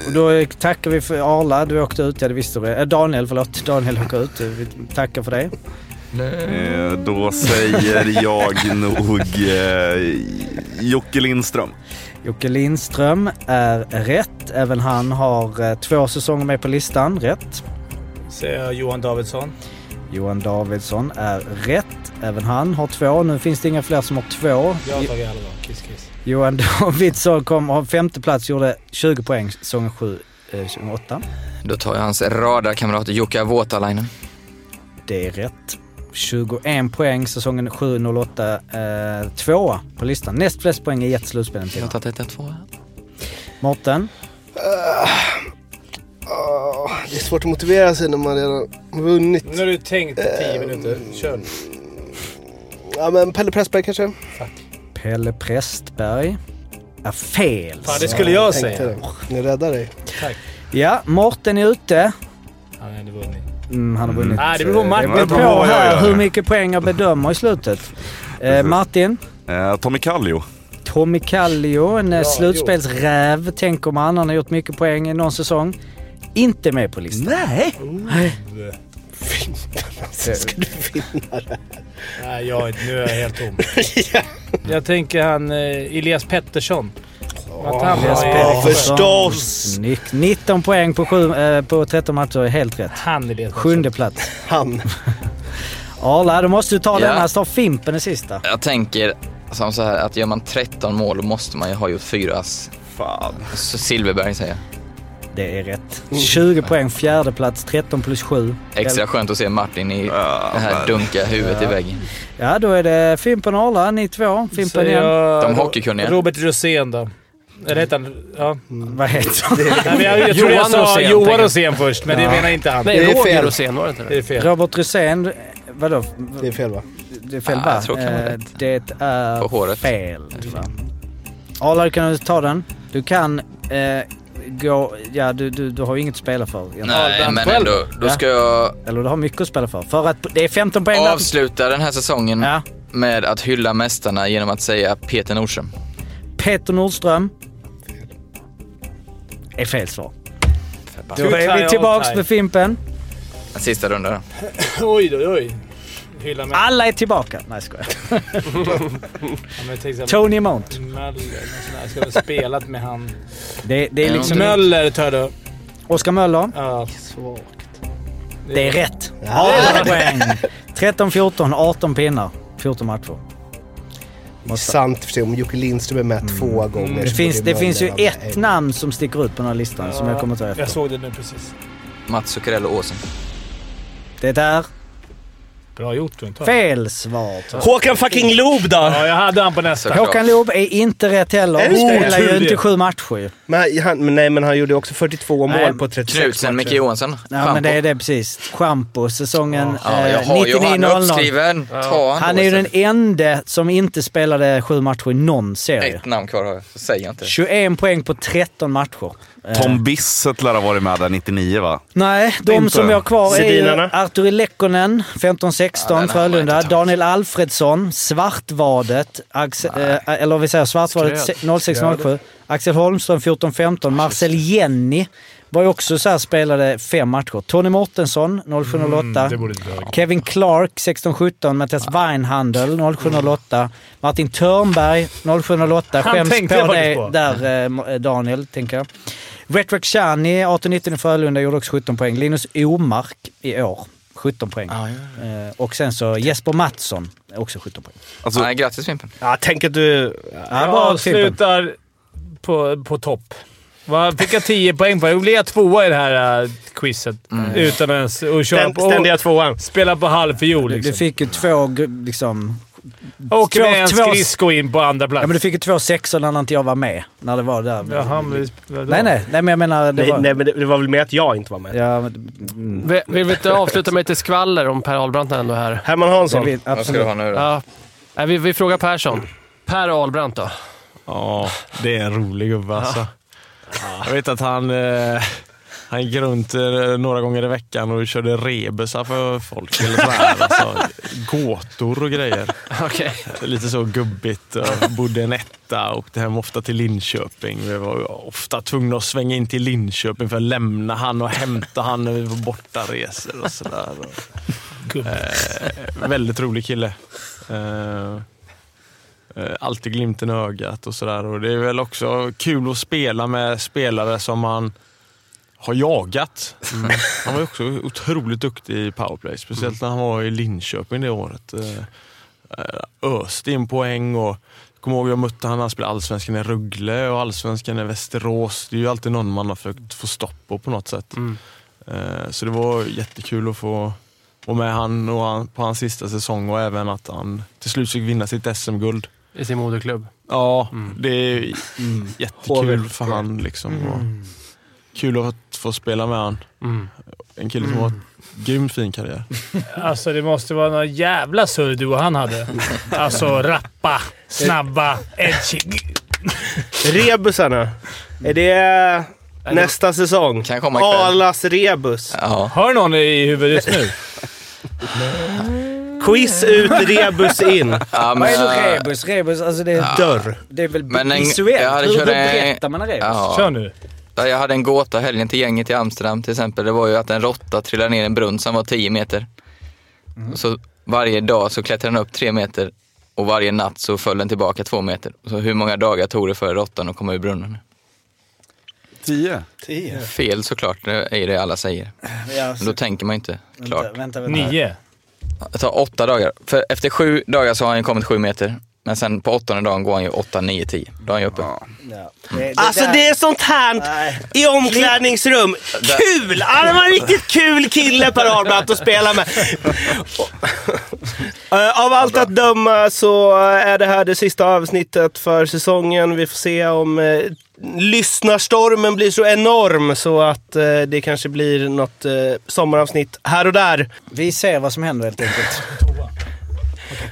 B: Och då tackar vi för Arla, du åkte ut, ja det visste du. Eh, Daniel, förlåt. Daniel åker ut. Vi tackar för det.
I: Eh, då säger jag nog eh, Jocke Lindström.
B: Jocke Lindström är rätt. Även han har eh, två säsonger med på listan, rätt.
A: Säger jag Johan Davidsson.
B: Johan Davidsson är rätt. Även han har två. Nu finns det inga fler som har två.
A: Jag har tagit alla då. Kiss, kiss.
B: Johan Davidsson kom av femte plats, gjorde 20 poäng säsongen 7, eh, 2008.
J: Då tar jag hans radarkamrat Jukka Voutalainen.
B: Det är rätt. 21 poäng säsongen 7-08, eh, tvåa på listan. Näst flest poäng i ett slutspel än
J: Jag har
B: tidigare.
J: tagit detta två.
B: Mårten,
C: Ah, det är svårt att motivera sig när man redan vunnit.
A: Nu har du tänkt i tio minuter. Kör nu.
C: Ja, men Pelle Pressberg kanske?
B: Pelle Prästberg är fel.
A: Fan, det skulle jag
C: Tänkte
A: säga.
C: det. Nu räddar dig.
B: Ja, Mårten är ute.
A: Han hade vunnit.
B: Mm, han har vunnit.
A: Nej, det beror på
B: eh,
A: Martin.
B: Det beror
I: Ja,
B: på
I: ja, ja,
B: här
I: ja.
B: hur mycket poäng jag bedömer i slutet. Eh, Martin,
I: Eh, Tommy Kallio.
B: Tommy Kallio, en eh, slutspelsräv. Tänker man. Han har gjort mycket poäng i någon säsong. Inte med på listan.
C: Nej!
B: Nej.
A: Nej, jag, nu är jag helt tom. Jag tänker han eh, Elias Pettersson. Att han
B: Elias
A: var i-
B: Pettersson.
C: Förstås!
B: Snyggt. 19 poäng på, sju, eh, på 13 matcher är helt rätt.
A: Han är det.
B: Sjunde plats.
C: Han.
B: Arla, du måste ju ta
J: Ja.
B: den. Här står Fimpen i sista.
J: Jag tänker som så här att gör man 13 mål då måste man ju ha gjort fyra ass.
C: Fan.
J: Så Silverberg säger jag.
B: Det är rätt.
C: Mm.
B: 20 poäng, fjärde plats, 13 plus 7.
J: Extra skönt att se Martin i det här dunka huvudet i väggen.
B: Ja, då är det Fimpen och Arla, ni två. Fimpen igen.
J: De hockeykunniga.
A: Robert Rosén då. Eller heter han... Ja.
B: Vad heter han?
A: Nej, men jag, jag tror
H: Johan
A: jag sa
H: Rosén, tänker
A: Johan
H: jag.
A: Rosén först, men det menar inte han.
H: Nej,
C: Det är
H: Roger
C: fel.
H: Rosén var det inte
A: Det
H: det?
A: är fel.
B: Robert Rosén. eh, Vadå?
C: Det är fel va?
B: Det är fel
J: Ah,
B: va?
J: jag tror det kan vara
B: Eh,
J: rätt.
B: Det är
J: På håret.
B: fel. Va? Arla, du kan ta den. Du kan eh, gå... Ja, du, du, du har ju inget att spela för. egentligen.
J: Nej, men ändå. Då ska jag
B: Eller du har mycket att spela för. För att det är 15 poäng där.
J: avsluta den här säsongen
B: Ja.
J: med att hylla mästarna genom att säga Peter Nordström.
B: Peter Nordström. Är fel svar. Då
A: Two
B: är
A: tie,
B: vi
A: all
B: tillbaks
A: tie.
B: med Fimpen.
J: En sista runda då.
A: Oj, oj, oj. Hylla mig.
B: Alla är tillbaka. Nej, skojar.
A: Men jag tänkte såhär,
B: Tony Mount.
A: Möller. någon sån här. Jag skulle ha spelat med han.
B: Det, det är
J: Mm.
B: liksom...
A: Möller tar jag då.
B: Oskar Möller.
A: Ja.
B: Det är rätt. 18 poäng. 13, 14, 18 pinnar. 14 matcher. Måste-
C: Sant för sig om Jocke Lindström är med två gånger.
B: Mm. Det
C: så
B: finns,
C: borde
B: det finns ju
C: Möller vara med
B: ett
C: en.
B: namn som sticker ut på den här listan som jag kommer att ta
A: Jag
B: efter.
A: såg det nu precis.
J: Mats Zuccarello Åsen.
B: Det där.
A: Bra gjort. Inte
B: Fel svar.
C: Håkan fucking Loob då!
A: Ja, jag hade han på nästa.
J: Såklart.
B: Håkan Loob är inte rätt heller.
C: Är det
B: Han
C: inte?
B: spelar ju
A: Otur det.
B: inte sju matcher ju.
C: Men han, men nej, men han gjorde också 42
B: Nej.
C: mål på 36
J: Knutsen, Micke Johansson.
B: Ja, men det är
J: Schampo.
B: det precis. Schampo, säsongen
J: Ja, jag
B: eh,
J: har ju han
B: 99-00.
J: uppskriven. Ta han
B: Han är ju den enda som inte spelade sju matcher i någon serie.
D: e-
J: Ett namn kvar har jag, så säger jag inte.
B: 21 poäng på 13 matcher.
I: Tom Bissett lär ha varit med där 99 va?
B: Nej, de
I: Inte.
B: som jag har kvar är ju
C: Sedinarna.
B: Arturi Lekkonen, 15-16,
J: Ja, den har man
B: Frölunda.
J: inte tagit.
B: Daniel Alfredsson, Svartvadet, Axel, eh, eller vi säger Svartvadet
H: Skröt.
B: se- 06-07. Axel Holmström
J: Ah,
B: 14-15, Marcel Jenny var ju också så här, spelade fem matcher. Tony Mårtensson 07-08. Kevin Clark 16-17, Mattias Weinhandel 07-08. Martin Törnberg 07-08.
A: Han
B: Skäms
A: tänkte
B: på
A: jag
B: dig
A: faktiskt på.
B: där eh, Daniel, tänker jag. Retro Chani, 18-19 i Frölunda, gjorde också 17 poäng. Linus Omark i år, 17 poäng. Eh, och sen så Jesper Mattsson, också 17 poäng.
I: Alltså,
J: Nej, grattis Fimpen.
C: Ja, tänk att du...
B: Ja,
A: Jag
B: bra Fimpen.
A: avslutar på, på topp. Va, fick jag 10 poäng på. Då blev jag tvåa i det här äh, quizet. Utan ens att köra
C: Den
A: på.
C: ständiga tvåan.
A: Spela på halvfiol
B: Du
A: liksom.
B: fick ju två, gr- liksom...
A: och
B: två-
A: med en
B: två-
A: skridsko in på andra plats.
B: Ja, men du fick ju två sexor när inte jag var med, när det var där.
A: Jaha, men det- vadå?
B: nej, nej, nej, men jag menar... Det
C: Nej,
B: var,
C: nej, men det, det var väl med att jag inte var med.
B: Ja, men- mm,
H: Vi- Vill vi inte avsluta med lite skvaller om Per Ahlbrandt ändå är här?
C: Herman
B: det
C: Hansson.
B: blir,
J: Vad ska du ha
B: absolut.
J: nu då?
H: Ja. Nej, vi, vi frågar Persson. Per Ahlbrandt då?
D: Ja, det är en rolig gubbe alltså. Jag vet att han, eh, han gick runt eh, några gånger i veckan och körde rebusar för folk. Eller så här, alltså. Gåtor och grejer.
H: Okej.
D: Lite så gubbigt. Jag bodde i en etta och åkte hem ofta till Linköping. Vi var ofta tvungna att svänga in till Linköping för att lämna han och hämta han när vi var borta resor och sådär. Eh, väldigt rolig kille. Eh, eh, alltid glimten i ögat och sådär. Och det är väl också kul att spela med spelare som man har jagat.
B: Mm.
D: Han var ju också otroligt duktig i powerplay. Speciellt när han var i Linköping det året. Eh, öste in poäng och jag kommer ihåg jag mötte han när han spelade allsvenskan i Rögle och allsvenskan i Västerås. Det är ju alltid någon man har försökt få stopp på på något sätt.
J: Mm.
D: Eh, Så det var jättekul att få vara med han och han på hans sista säsong och även att han till slut fick vinna sitt SM-guld.
H: I sin moderklubb.
D: Ja, det är jättekul för han liksom. Och kul att få spela med han. En kille som har en grymt fin karriär.
A: Alltså det måste vara någon jävla surr du och han hade. Alltså rappa, snabba, edgy.
C: Rebusarna. Är det nästa säsong?
J: Kan komma ikväll.
C: Arlas rebus.
J: Ja.
A: Har du någon i huvudet just nu?
C: Quiz ut, rebus in.
J: Ja, men,
B: Vad är då
J: äh,
B: rebus? Rebus, alltså det är
J: Ja.
C: Dörr.
B: Det är väl
J: Men en-
B: visuellt?
J: jag hade
B: Hur hur
J: kört en-
B: berättar man en rebus?
J: Ja.
A: Kör nu.
J: Ja, Jag hade en gåta helgen till gänget i Amsterdam till exempel. Det var ju att en råtta trillade ner i en brunn som var 10 meter.
B: Mm.
J: Och så varje dag så klättrade den upp 3 meter och varje natt så föll den tillbaka 2 meter. Så hur många dagar tog det för råttan att komma ur brunnen?
I: Tio.
J: Fel såklart, det är det alla säger.
B: Ja,
J: Men
B: så-
J: då tänker man inte klart.
B: Alltså. vänta, vänta, vänta.
A: Nio.
J: Det tar åtta dagar. För efter sju dagar så har han ju kommit 7 meter. Men sen på åttonde dagen går han ju 8, 9, 10. Då är han ju uppe.
B: Ja. Det, det,
C: Alltså
B: där-
C: det är sånt här
B: Nej.
C: i omklädningsrum. Kul! Ja, det var en riktigt kul kille Per Arnblatt att spela med. Eh, Av allt att döma så är det här det sista avsnittet för säsongen. Vi får se om eh, lyssnarstormen blir så enorm så att eh, det kanske blir något eh, sommaravsnitt här och där.
B: Vi ser vad som händer helt enkelt.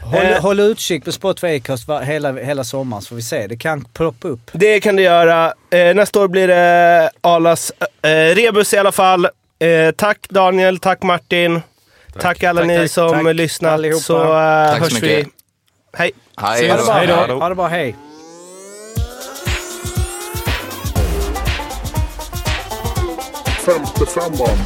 B: Håll,
C: Eh.
B: håll utkik på E Spotify Acast va- hela, hela sommaren så får vi se. Det kan ploppa upp.
C: Det kan det göra. Eh, nästa år blir det Alas eh, rebus i alla fall. Eh, tack Daniel, tack Martin. Tack, alla
B: Tack,
C: ni
B: tack,
C: som
B: tack
C: lyssnat.
B: allihopa.
C: Så eh,
J: Tack så
C: hörs vi.
J: mycket.
C: Hej.
J: Hej
B: Ha det
J: då.
B: bra.
J: Hej då.
B: Ha det bra. Hej.
K: Femte femman.